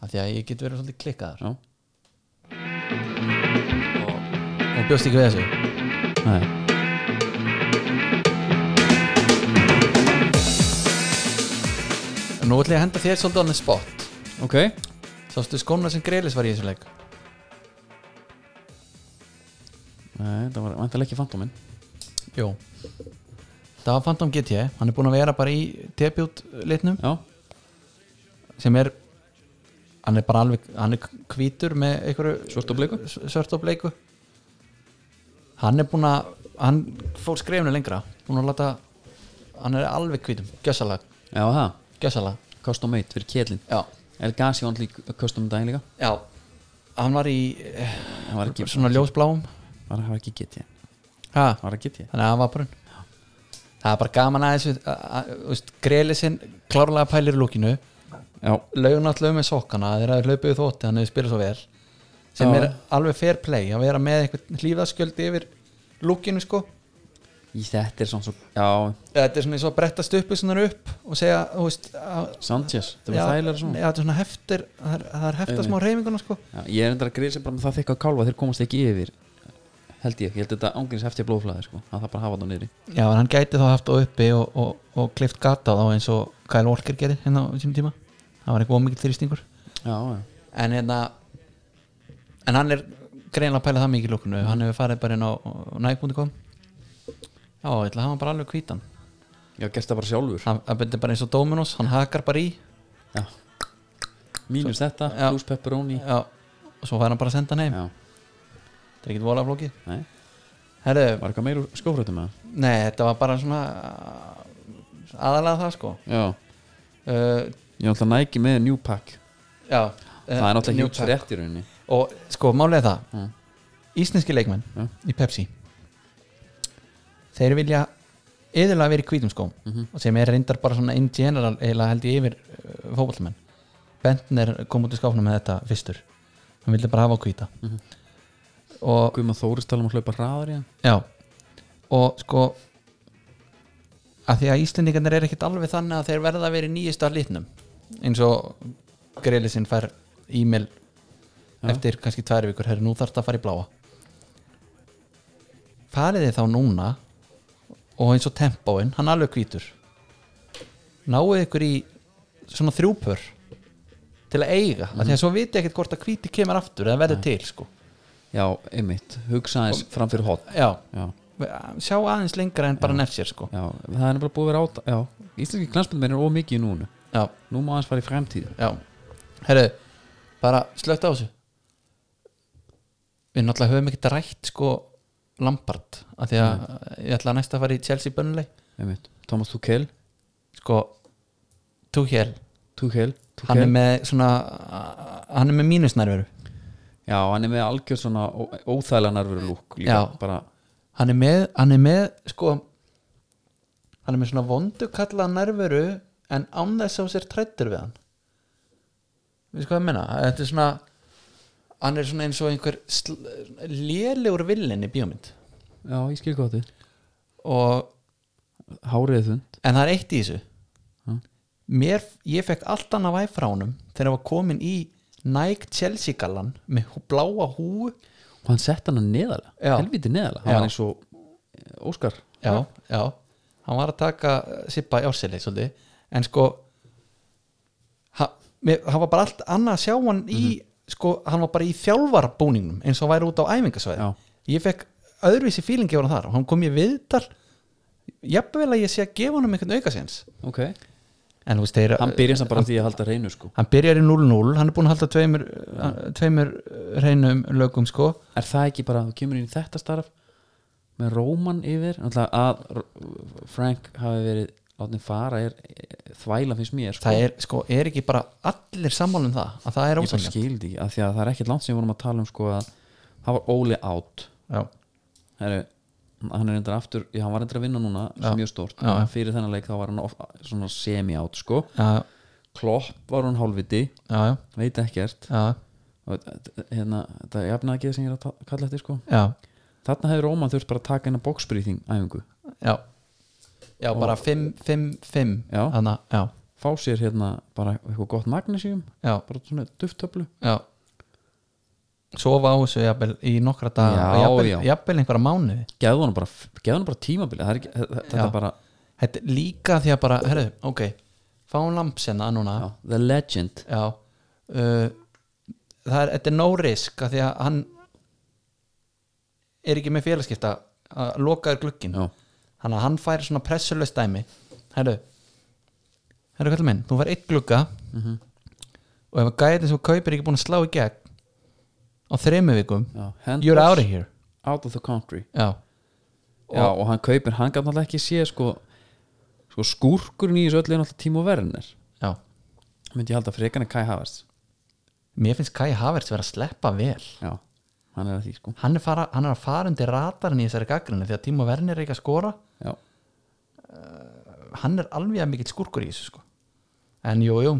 S2: af því að ég get verið svolítið klikkaður
S1: já,
S2: og bjóst ekki við þessu
S1: nei
S2: Nú ætlum ég að henda þér svolítið annað spott
S1: ok,
S2: Sástu skóna sem Greilis var í þessu leik
S1: nei, það var vantilega ekki fantóminn
S2: Jó Það var Phantom GT, hann er búinn að vera bara í debut litnum
S1: já,
S2: sem er hann er bara alveg, hann er hvítur með einhverju
S1: svört og bleiku
S2: s- svört og bleiku Hann er búinn að hann fór skrefinu lengra búinn að láta hann er alveg hvítum, gjössalag
S1: já, það,
S2: gjössalega
S1: custom made fyrir kjellin
S2: já,
S1: El Gassi var náttúrulega í custom um daginn líka
S2: já, hann var í eh,
S1: hann var ekki,
S2: svona ljósbláum
S1: var, hann var ekki GT
S2: ha,
S1: hann var ekki GT
S2: þannig að hann var brunn það er bara gaman að þessu að- að- þú veist, greli sinn klárlega pælir í lúkinu
S1: já,
S2: laugur náttúrulega um með sokkana þeir hafi hlaupið í þótti, hann hefur spilað svo vel sem
S1: Já.
S2: er alveg fair play að vera með eitthvað hlífaskjöldi yfir lúkinu sko
S1: í þetta er svona svo já,
S2: þetta er svona eins og að bretta stuppu svona upp og segja, þú veist að,
S1: Sanchez, það
S2: Já,
S1: var þægilega svona
S2: já, þetta er svona heftir, það er, það er hefta
S1: Einmitt.
S2: smá reyfinguna sko
S1: Já, ég er endur að grísa bara með það þykka að kálfa þeir komast ekki yfir held ég, ég held þetta ángurins hefti að blóðflæði sko, að það bara hafa það niðri
S2: já, en hann gæti þá haft það uppi og, og, og klift gata þá eins og Kyle Walker gerði hérna á sínum tíma það var eitthvað ómikið þrýstingur
S1: já, já,
S2: en hérna en hann er greinlega að pæla það mikið í lúkunu hann hefur farið bara inn á næg.com já, ég ætla að hafa hann bara alveg hvítan
S1: já, gerst það bara sjálfur
S2: hann hann byrði bara eins og Dominos, hann hakar bara í
S1: já. mínus þetta,
S2: já.
S1: pluss pepperoni já,
S2: já, og svo fær hann bara að senda hann heim þetta er ekkit vola flókið
S1: nei,
S2: herru,
S1: var eitthvað meir úr skófrötum með
S2: Nei, þetta var bara svona uh, aðalega það sko
S1: það já,
S2: uh,
S1: ég ætla að næki með new pack
S2: Já eh,
S1: það er náttúrulega hjúts
S2: Newpack.
S1: rétt í rauninni
S2: Og sko, málega það
S1: Mm.
S2: Íslenski leikmenn
S1: Já.
S2: í Pepsi Þeir vilja yðurlega verið hvítum skóm og sem er reyndar bara svona in general eiginlega held ég yfir uh, fótballmenn Bentner kom út í skáfnum með þetta fyrstur hann vildi bara hafa á hvíta og
S1: Guðma Þóris tala um að hlaupa hraðar í hann
S2: Já og sko að því að Íslendingarnir er ekkit alveg þannig að þeir verða að vera í nýjasta litnum eins og greiðlisinn fær e-mail eftir kannski tvær vikur, herri nú þarf það að fara í bláa farið þið þá núna og eins og tempóin, hann alveg hvítur náuð ykkur í svona þrjúpör til að eiga, mm. að því að svo viti ekkit hvort að hvíti kemur aftur eða verður til sko
S1: já, einmitt, hugsa aðeins fram fyrir hot
S2: já,
S1: já,
S2: sjá aðeins lengra en bara nefsir sko
S1: já, það er bara búið að vera át já, íslenski knarspundmenn er ómikið núna
S2: já,
S1: nú má aðeins fara í fremtíð
S2: já herru, bara slögt á þessu við náttúrulega höfum ekkert rætt sko Lampard af því að ég ætla að næsta að fara í Chelsea Burnley
S1: einmitt, Thomas Tuchel
S2: sko, Tuchel
S1: Tuchel, Tuchel.
S2: hann er með svona a- hann er með mínusnærveru
S1: Já, hann er með algjör svona ó- óþægilega nærveru lúk líka,
S2: Já.
S1: bara,
S2: hann er með, hann er með sko hann er með svona vondukalla nærveru en án þess að hún sér trættur við hann við sko að menna þetta er svona hann er svona eins og einhver sl- lélegur villin í bíómynd
S1: já, ég skil hvað þið
S2: og
S1: Hárið þund
S2: en það er eitt í þessu
S1: Ha?
S2: mér, ég fekk allt annað væf frá honum þegar hann var komin í Nike Chelsea gallan með hú- bláa húu
S1: og hann sett hann að neðala,
S2: Já.
S1: helviti neðala hann
S2: Já.
S1: var eins og eh, Óskar
S2: já, já, hann var að taka eh, Sippa í árseli svolítið en sko ha- mér- hann var bara allt annað að sjá hann í
S1: Mhm.
S2: sko, hann var bara í þjálfarbúningnum eins og hann væri út á æfingasvæði
S1: Já.
S2: ég fekk öðruvísi fílingi var hann þar og hann kom í viðtal jafnvel að ég sé að gefa hann um einhvern aukasins
S1: Ok,
S2: en þú veist þeir
S1: hann byrja samt bara á því að halda reynu sko
S2: hann byrjar í 0-0, hann er búin að halda tveimur, tveimur eh, hreinum lögum sko
S1: Er það ekki bara, þú kemur inn í þetta starf með Róman yfir náttúrulega að R- Frank hafi verið látni fara er eh, þvæla finnst mér sko
S2: það er, sko, er ekki bara allir sammála um það að það er
S1: Ég bara
S2: ósangjant
S1: skildi, af því að það er ekkert langt sem við vorum að tala um sko að það var Óli átt
S2: já,
S1: Heru, hann er reyndar aftur, já hann var reyndar að vinna núna sem
S2: Já.
S1: mjög stort,
S2: Já, já.
S1: fyrir þennan leik þá var hann of, svona semi-out sko
S2: já,
S1: klopp var hann hálfviti,
S2: já, já,
S1: veit ekkert
S2: já.
S1: og, eh, hérna, þetta er jafnaði ekki það sem ég er að ta- kalla eftir sko
S2: já,
S1: þarna hefur Róman þurft bara að taka hennar boxbreathing æfingu,
S2: já já, bara 5, 5, 5
S1: Já.
S2: Þannig, já,
S1: fá sér hérna bara eitthvað gott magnesium,
S2: já,
S1: bara svona dufttöflu
S2: já sofa á þessu jafnvel í nokkra dag
S1: Já,
S2: jafnvel,
S1: já.
S2: jafnvel einhverja mánuði
S1: gefðu hann bara, gefðu hann bara tímabili það er ekki, þe- þetta
S2: Já.
S1: er bara
S2: þetta er líka því að bara, herru, ok fáum lampsina núna
S1: já, the legend
S2: Já uh, Það er, þetta er no risk að því að hann er ekki með félagskipta að lokaður glukkin
S1: já,
S2: þannig að hann fær svona pressulöst dæmi Herru Herru kallum minn, þú fær eitt glugga
S1: Mhm.
S2: og ef að gæðin sem þú kaupir er ekki búin að slá í gegn á þremu vikum
S1: já, Henders
S2: You're out of here
S1: out of the country
S2: Já,
S1: Já, og hann kaupir, hann gaf náttúrulega ekki sé sko, sko skúrkurinn í þessu öllu er náttúrulega Timo Werner
S2: já.
S1: myndi ég halda frekarna Kai Havers
S2: mér finnst Kai Havertz vera að sleppa vel
S1: já, hann er að því sko
S2: hann er, fara, hann er að fara undir ratarinn í þessari gaggrinu því að Timo Werner er ekki að skora
S1: já,
S2: hann er alveg að mikill skurkur í þessu sko. en jú, jú,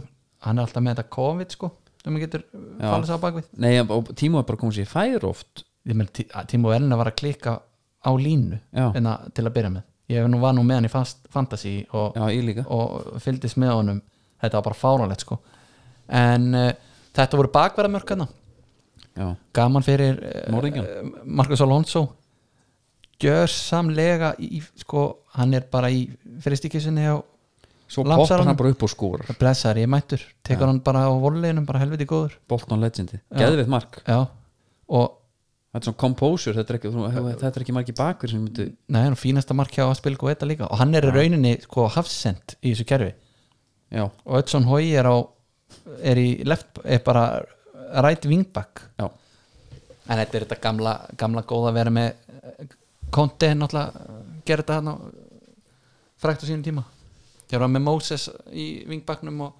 S2: hann er alltaf með þetta COVID sko, sem hann getur
S1: Já.
S2: fallið sá bakvið
S1: nei, og Tímo er bara komið sér í fæður oft
S2: ég meni, Tí- að Timo Werner var að klikka á línu
S1: Já.
S2: en að, til að byrja með ég hef nú var nú með hann í fast, fantasy og,
S1: já, ég líka
S2: og fylgdist með honum þetta var bara fáralegt sko. en uh, þetta voru bakverðamörkana
S1: já,
S2: gaman fyrir
S1: Morðingjan.
S2: uh, Marcus Alonso gjörsamlega í, í- sko, hann er bara í fyrirstíkisunni á
S1: svo
S2: Lampsar
S1: poppar
S2: hann-
S1: hann bara upp og skórar
S2: blessar, ég er mættur, tekur hann bara á volleinum bara helviti góður
S1: Bolton Legendi, geðvið mark
S2: já. og
S1: þetta er svona composure, þetta er ekki, þú- þetta er ekki margi bakur sem myndi,
S2: neðan fínasta mark hjá að spila góða líka og hann er í rauninni sko hafsend í þessu kerfi
S1: já,
S2: og Ödsson Hói er á er í left, er bara right wingback
S1: já
S2: en þetta er þetta gamla, gamla góða að vera með eh, Conte náttúrulega eh, gerði þetta hann á frækt á sínum tíma þegar var hann með Moses í wingbacknum og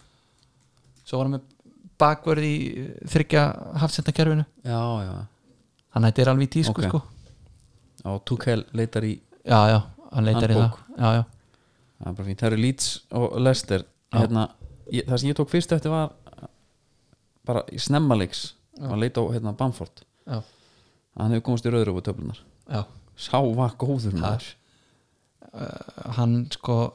S2: svo var hann með bakvörð í eh, þriggja hafsendakerfinu
S1: já, já,
S2: hann hætti er alveg í tísku
S1: Ok.
S2: sko
S1: og Tuchel leitar í
S2: já, já, hann leitar í það
S1: Handbók.
S2: já, já,
S1: það er bara fínt, það eru Leeds og Leicester hérna, ég, það sem ég tók fyrst eftir var bara í snemmaleiks að leita á hérna, Bamford
S2: já,
S1: að hann hefur komast í rauðröfu töflunar
S2: já.
S1: sá var góður maður
S2: Uh, hann sko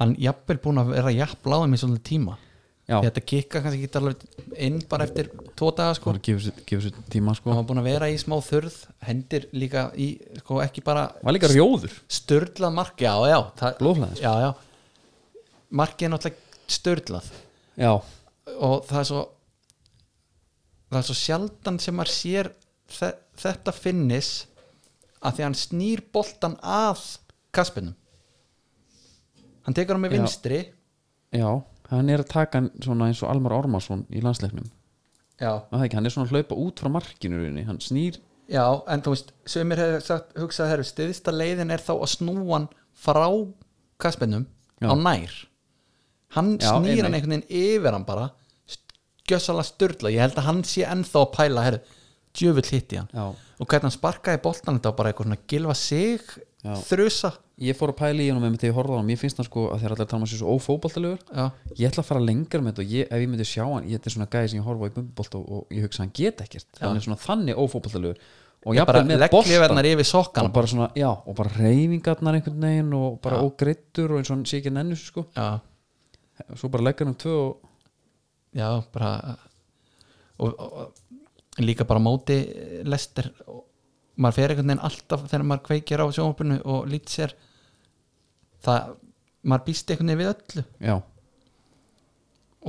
S2: hann jafnvel búin að vera jafnbláðum í svolítið tíma
S1: já,
S2: þetta kikka kannski ekki alveg inn bara eftir tvo daga sko
S1: hann gefur sér- gefur sér tíma
S2: hann
S1: sko
S2: var búin að vera í smá þurð hendir líka í, sko ekki bara
S1: var líka rjóður
S2: störlað mark, já, já það-
S1: Blóðflæði, sko.
S2: já, já markið er náttúrulega störlað
S1: já,
S2: og það er svo það er svo sjaldan sem maður sér þe þetta finnis að því að hann snýr boltan að kaspinum hann tekur hann með
S1: Já.
S2: vinstri
S1: já, hann er að taka hann svona eins og Almar Ormarsson í landsleiknum
S2: já,
S1: Var það ekki, hann er svona að hlaupa út frá markinu í rauninni, hann snýr
S2: já en þú veist, sömur hefur sagt, hugsað herru, stiðista leiðin er þá að snúa hann frá kaspinum
S1: Já.
S2: á nær hann
S1: Já, einmitt.
S2: snýr hann einhvern veginn yfir hann bara gjössalega styrla, ég held að hann sé ennþá að pæla, herru, djöfull hitti hann
S1: já.
S2: og hvernig hann sparkaði boltan þetta var bara eitthvað svona gilva sig
S1: Já.
S2: þrusa
S1: ég fór að pæla í hann og með mig þegar ég horfði á hann mér finnst hann sko að þegar allir tala um að sé svo ófóbaltalegur
S2: já,
S1: ég ætla að fara lengra með þetta og ég, ef ég myndi sjá hann ég þetta er svona gæði sem ég horfa á í bumbolt og, og ég hugsa hann get ekkert hann er svona þannig ófótballtalegur og
S2: bara
S1: jafnvel með boltan
S2: legglifarnar yfir
S1: og
S2: sokkana
S1: bara svona, já, og bara reyfingarnar einhvern veginn og bara ógreittur og eins og hann sé ekki nennu þessu, sko,
S2: já,
S1: svo bara leggur hann um tvö og
S2: já, bara og, og, og líka bara á móti eh, lester og maður fer einhvern veginn alltaf þegar maður kveikir á sjónvarpinu og lít sér það, maður býst einhvern veginn við öllu
S1: já,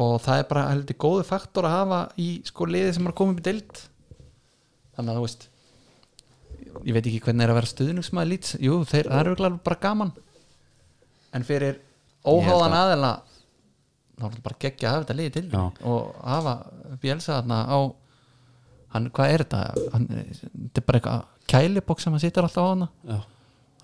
S2: og það er bara heldur góðu faktor að hafa í sko liði sem maður komið upp í deild þannig að þú veist ég veit ekki hvernig er að vera stuðningsmaður lít jú, þeir, það er auðvitað bara gaman en fyrir óháðan aðeila þá er þetta bara geggja að hafa þetta liði til
S1: Já.
S2: og hafa Bjelsa þarna á hann, hvað er þetta? Hann, þetta er bara eitthvað kælibók sem hann situr alltaf á hana
S1: já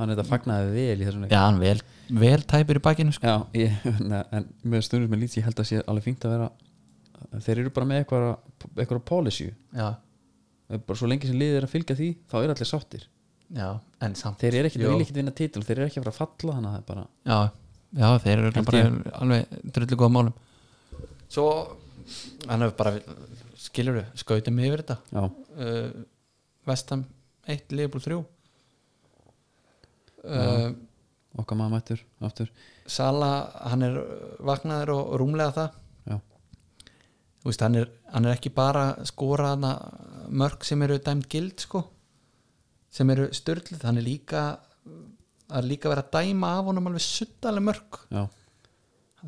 S1: hann er þetta fagnaði vel í þessum leik
S2: já, hann vel, vel tæpir í bakinu sko.
S1: já, ég, (laughs) ne, en með stundum með lít ég held að sé alveg fínt að vera þeir eru bara með eitthvað, eitthvað policy
S2: já,
S1: bara svo lengi sem liðið er að fylgja því þá eru allir sáttir
S2: já, en samt
S1: þeir eru ekki,
S2: Jú.
S1: þeir vilja ekki vinna titil þeir eru ekki að fara að falla þannig að það er bara
S2: já, já þeir eru
S1: Held
S2: bara alveg drullu góða málum svo hann hefur bara skilur þau, skautum yfir þetta
S1: já,
S2: uh, Vestam 1, Liverpool 3 uh,
S1: okkar maður mættur aftur,
S2: Sala hann er vaknaður og rúmlega það
S1: já,
S2: Þú veist, hann, er, hann er ekki bara að skora hana mörg sem eru dæmt gild sko, sem eru styrlið hann er líka að líka vera að dæma af honum alveg suttaleg mörg
S1: já,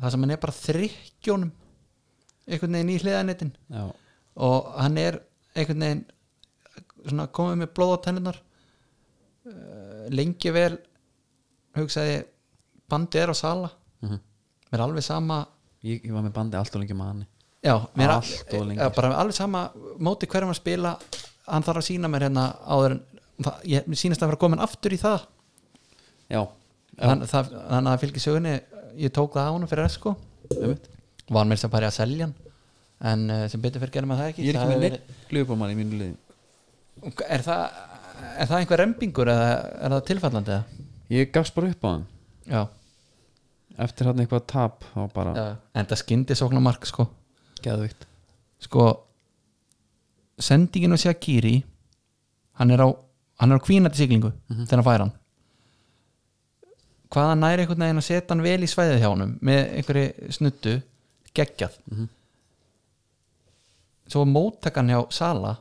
S2: það sem hann er bara þrykkjónum einhvern veginn í hliðanetin
S1: já
S2: og hann er einhvern veginn svona komið með blóð á tennunar lengi vel hugsaði ég, bandið er á sala
S1: Mhm.
S2: mér er alveg sama
S1: ég, ég var með bandi allt og lengi manni
S2: já, mér er
S1: Allt of lengi.
S2: eh, bara alveg sama móti hverjum að spila hann þarf að sína mér hérna áður en það, ég mér sýnist að vera komin aftur í það
S1: já,
S2: þannig að fylgja sögunni ég tók það á hann fyrir esko
S1: einmitt
S2: var mér sem bara að selja hann en eh, sem betur fyrir gerum að það ekki
S1: Ég er
S2: Það
S1: ekki með
S2: hefði verið-
S1: neitt glöfumann í mínu liði
S2: er það, er það einhver rembingur eða er það tilfallandi eða?
S1: Ég gafst bara upp á hann
S2: Já,
S1: Eftir hann eitthvað tap þá bara
S2: já. en það skyndi sóknarmark sko
S1: Geðvikt
S2: sko sendingin á Shakiri hann er á, hann er á kvínandi siglingu þegar hann fær hann hvað hann næri einhvern veginn að setja hann vel í svæðið hjá honum með einhverju snuttu geggjað svo móttakan hjá Sala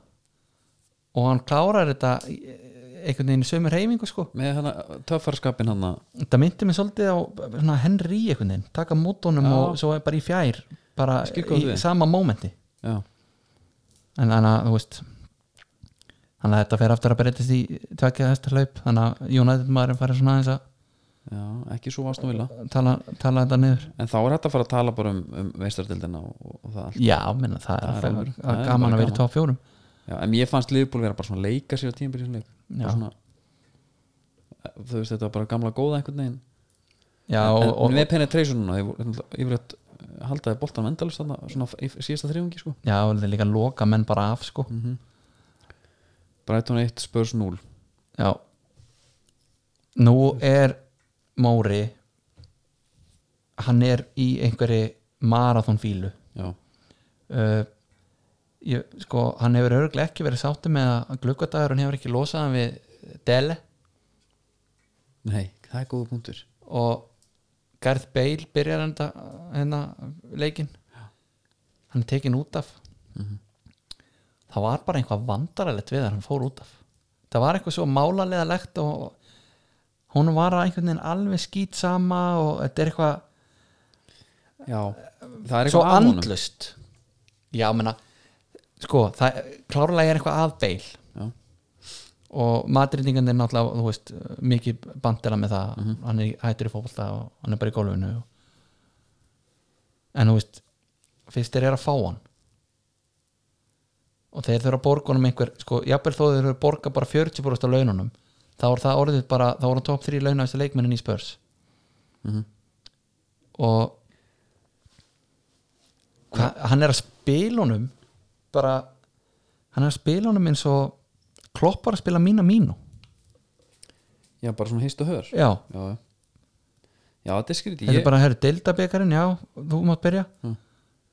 S2: og hann klárar þetta eh, einhvern veginn í sömu reyfingu sko
S1: Með hann töffarskapin hann
S2: þetta myndi mér svolítið á svona, Henry einhvern veginn, taka mótunum
S1: Já.
S2: og svo er bara í fjær bara
S1: Skil hvað
S2: í
S1: þú við.
S2: sama mómenti
S1: Já,
S2: en þannig að þú veist þannig að þetta fer aftur að breytist í tvekja hestar hlaup, þannig að United maðurinn farið svona aðeins að
S1: já, ekki svo vast nú vilja
S2: tala, tala þetta niður
S1: En þá er hægt að fara að tala bara um, um veistardildina og, og það allt
S2: já, menna, það er
S1: Það er
S2: alltaf
S1: alveg- það
S2: að
S1: er
S2: gaman
S1: bara
S2: að vera í
S1: gaman.
S2: top fjórum
S1: já, En ég fannst liðbúl vera bara svona að leika sér á tíðanbyrjum leik
S2: Já.
S1: Bara svona, eh, Þú veist þetta var bara gamla góða einhvern veginn
S2: já,
S1: en,
S2: og,
S1: en
S2: og,
S1: með penetrationuna ég voru- ég voru að haldaði boltan endalist þarna svona í síðasta þriðungi sko
S2: já, og þeir líka loka menn bara af sko
S1: Mm. Brighton 1, Spurs 0
S2: já nú er Móri hann er í einhverju marathonfílu
S1: já,
S2: uh, ég, sko, hann hefur örglega ekki verið sátti með að gluggadagurinn hefur ekki losað hann við Dele
S1: nei, það er góða punktur
S2: og Garth Bale byrjar enda hérna leikin hann er tekin út af
S1: Mhm.
S2: það var bara einhvað vandaralegt við að hann fór út af það var eitthvað svo málarlega legt og hún var að einhvern veginn alveg skýt sama og þetta er eitthvað
S1: já, það er
S2: svo
S1: eitthvað að honum.
S2: andlust já, menna sko, það, klárlega er eitthvað að Bale
S1: já,
S2: og matryndingandi er náttúrulega þú veist, mikið bandela með það hann er hættur í fótbolta og hann er bara í gólfinu og... en þú veist fyrst þeir eru að fá hann og þeir þurfa að borga honum einhver sko, jafnvel þó þeir þurfa að borga bara 40% af laununum þá er það orðið bara þá voru hann top 3 launafistar leikmennin í spörs og hva, hann er að spila honum bara hann er að spila honum eins og kloppar að spila mína mínu
S1: já, bara svona hist og hör já,
S2: já,
S1: já, já þetta er skrítið
S2: þetta
S1: ég, Hm.
S2: er bara herru deildabekarinn, já, þú mátt byrja mm.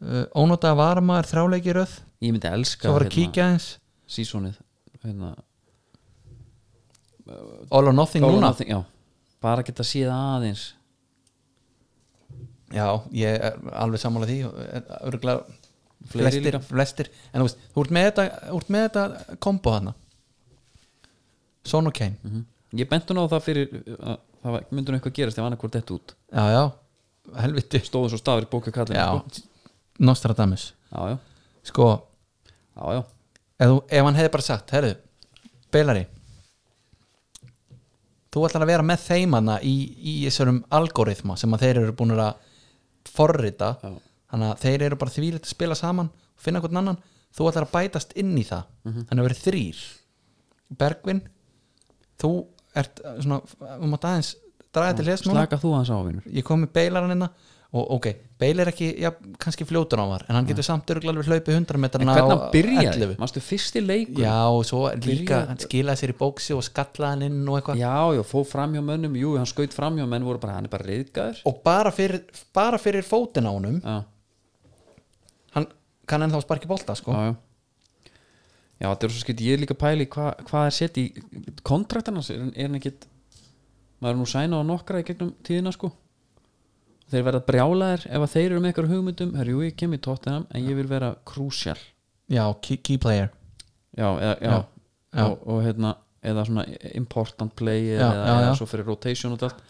S2: uh, ónótaða varamaður þráleiki í röð
S1: ég myndi elska
S2: svo var að kíkja eins
S1: sísónið hérna,
S2: all or nothing
S1: All or
S2: núna
S1: nothing, já, bara geta séð aðeins
S2: já, ég er alveg sammála því eh, örugglega
S1: Fleiri
S2: flestir,
S1: líka.
S2: flestir en þú veist, þú ert með þetta, þú ert með þetta kombo þarna Son og Kane
S1: mm ég bentu ná það fyrir að það var- myndi nú eitthvað gerast ef annað hvort þetta út
S2: já, já, helviti
S1: stóðu svo stafir bókakallin
S2: já,
S1: sko.
S2: Nostradamus
S1: já, já,
S2: sko,
S1: já, já,
S2: ef, þú- ef hann hefði bara sagt herru, Beilari þú ætlar að vera með þeim hana í, í þessarum algoritma sem að þeir eru búin að forrita
S1: Já.
S2: þannig að þeir eru bara þvílið að spila saman finna hvern annan, þú ætlar að bætast inn í það
S1: Mhm.
S2: þannig að vera þrýr Bergvin þú ert eh, svona, þú mátt aðeins draga til hliðs núna
S1: slaka þú aðeins á vinur
S2: ég kom með beilaran hérna og ok, beil er ekki, já, kannski fljótur á var en hann getur samt örgulega alveg hlaupið 100
S1: En
S2: metrana
S1: hvernig hann
S2: á
S1: byrjaði,
S2: 11.
S1: mástu fyrsti leikur
S2: já, og svo líka
S1: Byrjaði-
S2: hann skilaði sér í bóksi og skallaði hann inn og eitthvað
S1: já, já, fó framhjá mönnum, jú, hann skaut framhjá menn voru bara, hann er bara reyðgæður
S2: og bara fyrir, bara fyrir fótin á honum
S1: já,
S2: hann kann ennþá sparki bolta sko.
S1: já, já já, þetta er svo skipt, ég er líka að pæli hva, hvað er sett í kontraktarnas er, hann- er hann ekkit maður er nú sæna á nokkra í gegnum tíðina sko þeir verða brjálaðir ef að þeir eru með eitthvað hugmyndum herr, jú, ég kem í tóttinam, en ég vil vera krúsjál
S2: já, key, key player
S1: já, eða, já,
S2: Já, já.
S1: Og, og hérna eða svona important play eða,
S2: Já, já,
S1: eða
S2: já.
S1: svo fyrir rotation og allt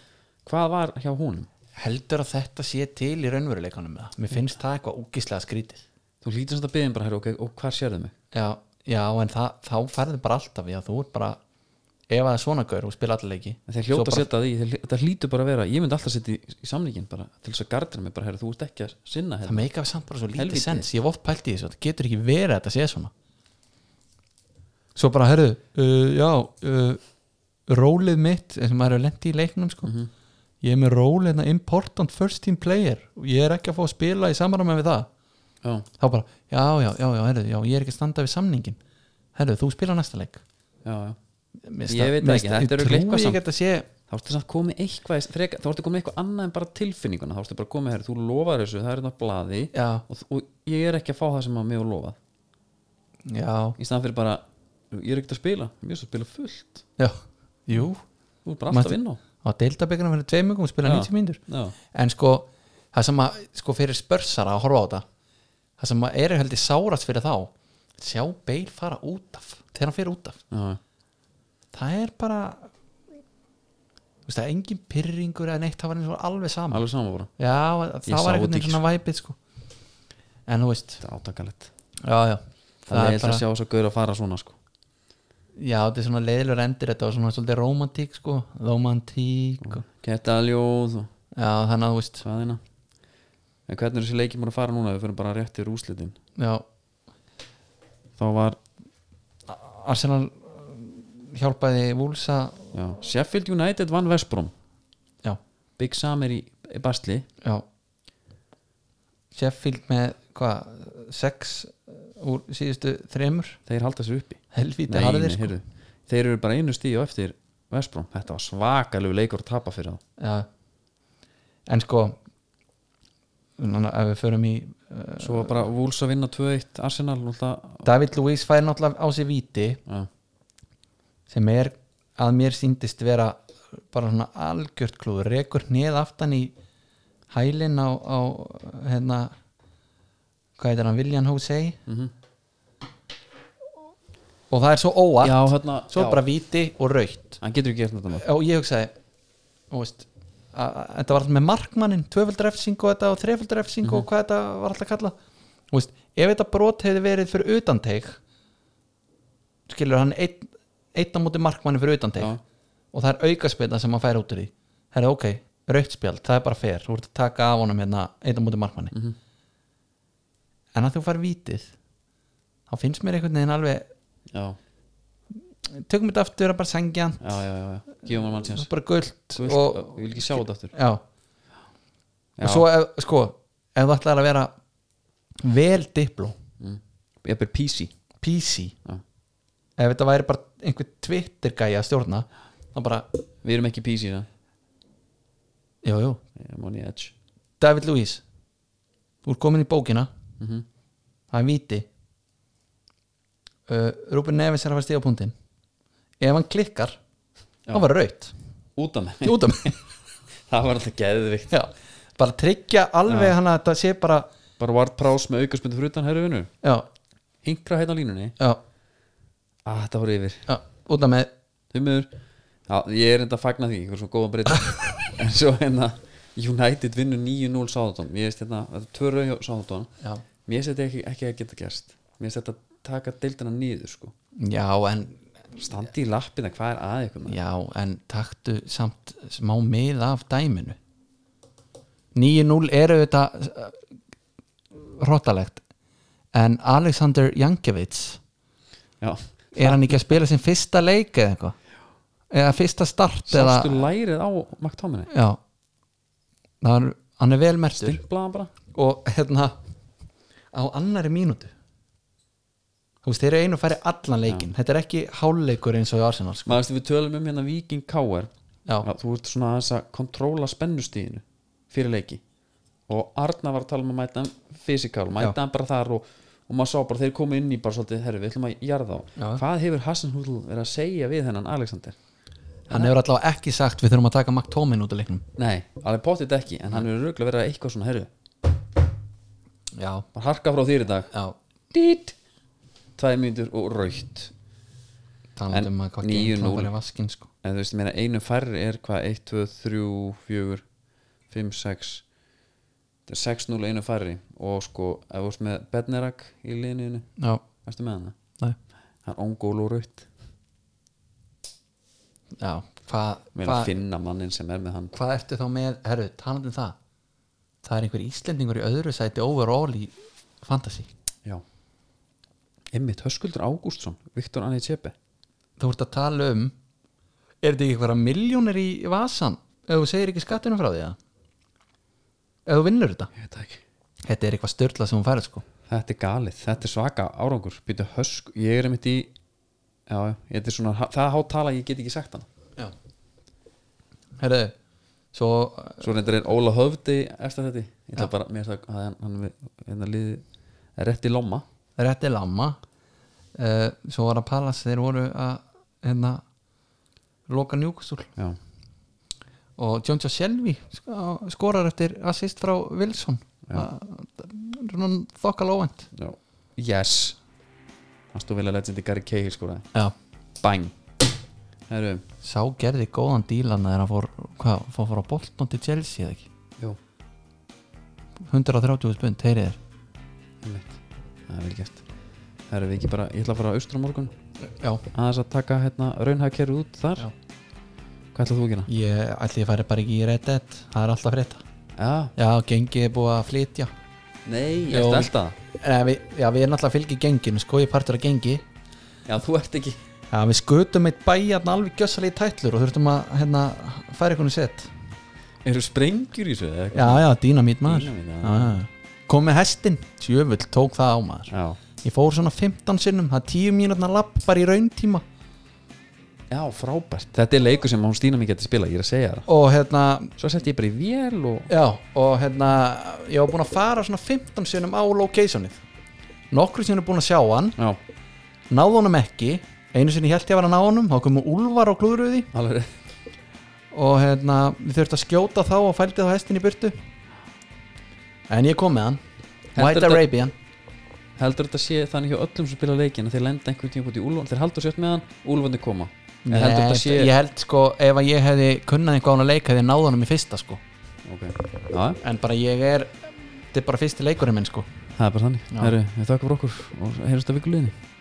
S1: hvað var hjá honum?
S2: heldur að þetta sé til í raunveruleikanum með það, mér finnst það eitthvað úkislega skrítið
S1: þú hlýtur samt að byggðin bara, herru, ok, og hvað sérðu mig?
S2: já, já, en það, þá færðu bara alltaf já, þú ert bara, ef það er svona gaur og spila allir leiki
S1: En þeir
S2: svo
S1: hljóta að
S2: bara-
S1: setja því, þeir, þetta hlýtur bara að vera ég myndi alltaf setja í, í samlíkin bara til þess að gardra mig bara, herru, þú ert ekki að sinna
S2: það
S1: hérna
S2: meika samt bara svo lítið
S1: Helvíti.
S2: sens ég hef oft pælt í þessu, það getur ekki verið að þetta sé svona svo bara,
S1: Mhm.
S2: herðu uh, já uh, rólið mitt eins og maður hefur lent í leiknum sko. ég er með ról hérna important first team player og ég er ekki að fá að spila í samaræmi við það
S1: já,
S2: þá bara, já, já, já, já, herru, já ég er ekki að standa við samningin herru, þú spila næsta leik
S1: já, já
S2: Mér
S1: Ég veit
S2: mér
S1: ekki, þetta er
S2: ég
S1: örugglega eitthvað
S2: trúi
S1: samt.
S2: ekki að þetta sé
S1: þá ertu samt komið eitthvað í- freka, þá ertu komið eitthvað annað en bara tilfinninguna þá ertu bara komið hér, þú lofar þessu, það er þetta blaði
S2: já,
S1: og, og ég er ekki að fá það sem að mig og lofa
S2: já,
S1: í staðan fyrir bara, ég er ekkert að spila mér er svo að spila fullt,
S2: já, jú
S1: þú er bara alltaf
S2: Mætti-
S1: inn á
S2: á deildabekana fyrir tveimugum og spila
S1: Já.
S2: 90 mínútur
S1: já,
S2: en sko, það sem að sko fyrir spörsara að horfa á þetta það sem að er held ég sárast fyrir þá sjá Beil fara út af þegar hann fyrir út af,
S1: já,
S2: það er bara þú veist það, engin pyrringur eða neitt, það var eins og alveg sama
S1: alveg sama bara
S2: já, það
S1: Ég sá
S2: var einhvern
S1: þetta ekki,
S2: veginn svona væpið sko en þú veist,
S1: þetta er átakalett,
S2: já, já
S1: það er eitthvað að sjá þess að gauður að fara svona sko
S2: já, þetta er svona leiðilegur endir þetta og svona svolítið romantík sko romantík og,
S1: geta ljóð og
S2: já, þannig að þú veist
S1: svaðina en hvernig er þessi leikið múin að fara núna, við fyrir bara rétt í rúslitin
S2: já,
S1: þá var,
S2: Arsenal eh, hjálpaði Vúlsa
S1: já, Sheffield United vann Vestbrom
S2: já,
S1: Big Sam er í, í Basli
S2: já Sheffield með hvað, sex eh, úr síðustu þremur
S1: þeir halda sér uppi
S2: helvíti
S1: Nei,
S2: harðir
S1: nei,
S2: sko.
S1: heyrðu, þeir eru bara einu stíu eftir Vestbrom, þetta var svakalegu leikur að tapa fyrir
S2: Já. en sko núna ef við förum í uh,
S1: þá svo var bara Wolves að vinna 2-1 Arsenal náttúrulega
S2: David Luiz fær náttúrulega á sig víti
S1: já,
S2: sem er að mér síndist vera bara svona algjört klúður rekur neð aftan í hælinn á, á hérna hvað heitir hann, William Jose
S1: Mhm.
S2: og það er svo óvart
S1: já hérna
S2: svo
S1: já.
S2: bara víti og raukt
S1: hann getur ekki eftir þetta maður
S2: og ég hugsaði þú veist, að, að, þetta var alltaf með markmannin tvöföldrefsing og þetta og þreföldrefsing
S1: Mhm.
S2: og hvað þetta var alltaf kalla veist, ef þetta brot hefði verið fyrir utan teik skilur hann einn einn á móti markmanni fyrir utan teik
S1: Já.
S2: og það er aukaspilna sem hann fær út úr því það er ok, rautspjald, það er bara fer þú ert að taka af honum hérna einn á móti markmanni
S1: Mm. mhm.
S2: en að þú fær vítið þá finnst mér einhvern veginn alveg
S1: já,
S2: tökum þetta aftur að bara sengja
S1: já, já, já, já. gefum hann mann síðan
S2: bara gult
S1: Þú vilt,
S2: og,
S1: ég vil ekki sjá þetta aftur
S2: já,
S1: já,
S2: og svo ef, sko, ef þú ætlar að vera vel dipló
S1: mm. ég ber PC
S2: PC,
S1: Já.
S2: ef þetta væri bara einhver Twitter gæja að stjórna þá bara,
S1: við erum ekki PC það
S2: jú, jú,
S1: ég er money edge
S2: David Luiz þú ert komin í bókina
S1: mm
S2: það er viti uh, Rúben Neves er að fara stíða púntin ef hann klikkar
S1: Já.
S2: þá var raut,
S1: út af mig
S2: út af mig
S1: (laughs) það var alltaf geðvikt
S2: já, bara tryggja alveg hann að þetta sé bara
S1: bara Ward Prowse með aukarspunni fyrir utan herru vinnu
S2: já,
S1: hingra hérna á línunni
S2: já,
S1: ah, þetta voru yfir
S2: já, út af mig
S1: Þumur Já, ég er enda að fagna því, einhver svona góða breyta En svo hérna United vinnur 9-0 Sáðatón Mér veist hérna, þetta er tvö rauð hjá Sáðatón
S2: já,
S1: Mér veist þetta ekki, ekki að geta gerst Mér veist þetta taka deildina niður sko
S2: já en
S1: Standi í lappina, hvað er að ykkur maður?
S2: Já, en taktu samt smá mið af dæminu 9-0 eru þetta uh, hróttalegt en Alexander Jankiewicz
S1: Já,
S2: er hann ekki að spila sin fyrsta leik eða eitthvað eða fyrsta start eða,
S1: sástu lærið á Maktóminni
S2: já Það er, hann er vel mertur
S1: Stimplaðan bara
S2: og hérna á annari mínútu þú veist, þeir eru einu að færi allan leikin þetta er ekki hálfleikur eins og í Arsenal sko.
S1: Maður veist við tölum um hérna Viking K.R.
S2: já,
S1: Já, Þú ert svona aðeins að kontróla spennustíðinu fyrir leiki og Arna var að tala um að mæta hann fysikál, mæta hann bara þar og, og maður sá bara þeir komu inn í bara svolítið herfi, við ætlum að jarða á
S2: Já.
S1: hvað hefur Hassan Húdl verið að segja við hennan Alexander?
S2: hann hefur allavega ekki sagt við þurfum að taka McTomin út af leiknum
S1: Nei, alveg potið ekki en hann hefur rauglega verið að eitthvað svona herfi
S2: já,
S1: bara harka frá þér í dag
S2: já
S1: Dít! Tvæði mínútur og raukt En
S2: talandi um að hvað
S1: 9-0.
S2: gengur hann var í vaskin sko.
S1: en þú veist, ég meina einu færri er hvað 1, 2, 3, 4, 5, 6 þetta er 6, 0, einu færri og sko, ef þú veist með Bednerak í liðinu
S2: já,
S1: Erstu með hana?
S2: nei
S1: Það er óngól og raut
S2: já, hvað
S1: Við erum
S2: hva,
S1: að finna mannin sem er með hann
S2: hva ertu þá með, herru, talandi um það það er einhver íslendingur í öðru sæti overall í fantasy
S1: Já Einmitt, Höskuldur Ágústsson, Viktor Anni Tjepe
S2: þú ert að tala um er þetta ekki einhverja miljónir í vasan ef þú segir ekki skattinu frá því eða? ef þú vinnur þetta
S1: ég veit það ekki
S2: þetta er eitthvað störla sem hún færið sko
S1: Þetta er galið, þetta er svaka árangur Býtu hösk, ég er einmitt í Já, já, þetta er svona Það er hátala, ég get ekki sagt hann
S2: já herðu, svo eh,
S1: Svo reyndar er Óla Höfdi eftir þetta Ég ætla bara, mér finnst að að hann, hann við- hérna liði er rétt í lomma
S2: rétti lamma uh, svo var að Palace þeir voru að hérna loka njúkustúl
S1: Já,
S2: og John Joe Shelby sk- skorar eftir assist frá Wilson Ah, þannig þokkal óvænt
S1: já Yes Hann stóð vel að leggja Gary Cahill sko
S2: já.
S1: Bang Herru,
S2: sá gerði góðan dílan þegar hann fór, hvað, fór, fór á Bolton til Chelsea eða ekki
S1: jú,
S2: 130 spund, heyrið þér
S1: einmitt Það er vel gert Herru, við ekki bara, ég ætla að fara austur á morgun
S2: já,
S1: Aðeins að taka hérna raunhagkerru út þar
S2: Já.
S1: Hvað ætla þú að gera?
S2: ég ætli ég færi bara ekki í Red Dead það er alltaf frétta
S1: Já,
S2: já, gengið er búið að flytja
S1: nei,
S2: Jú.
S1: ég stelta það
S2: Nei, við, já, við erum alltaf að fylgja genginu sko, ég er partur að gengi
S1: Já, þú ert ekki
S2: já, við skutum eitt bæjarn alveg gjössalegi tætlur og þurftum að hérna, færa eitthvað sett
S1: Eru sprengjur í þessu? eða
S2: já,
S1: eitthvað?
S2: já, dýnamít maður
S1: Dýnamít, já.
S2: já, já. kom með hestin, sjöfull, tók það á maður
S1: Já,
S2: ég fór svona 15 sinnum, það er 10 mínútna lapp bara í rauntíma
S1: já, frábært Þetta er leikur sem hún Stína mér geti spila, ég er að segja það
S2: og hérna,
S1: Svo setti ég bara í vél og
S2: Já, og hérna ég var búinn að fara svona 15 sinum á locationið nokkru sinum búinn að sjá hann
S1: Já,
S2: náð honum ekki, einu sinni held ég að vera að ná honum þá komu úlvar á klúðruði
S1: alveg rétt.
S2: og hérna, við þurftum að skjóta þá og fældi þá hestin í burtu en ég kom með hann White
S1: Heldur þetta-
S2: Arabian
S1: Heldur þetta sé þannig hjá öllum sem spila leikin að þeir lenda einhvern tíma út í úlvan Þeir haldur sért með hann, úlvandi koma Nei,
S2: Nei,
S1: Heldur þetta sé
S2: ég held sko, ef að ég hefði kunnað einhvað á hann að leika hefði ég náð honum í fyrsta sko
S1: Ok, já,
S2: en bara ég er, þetta er bara fyrsti leikurinn minn sko
S1: það er bara þannig
S2: Já.
S1: Heru, Við þakka fyrir okkur og heyrjumst að vikuleginni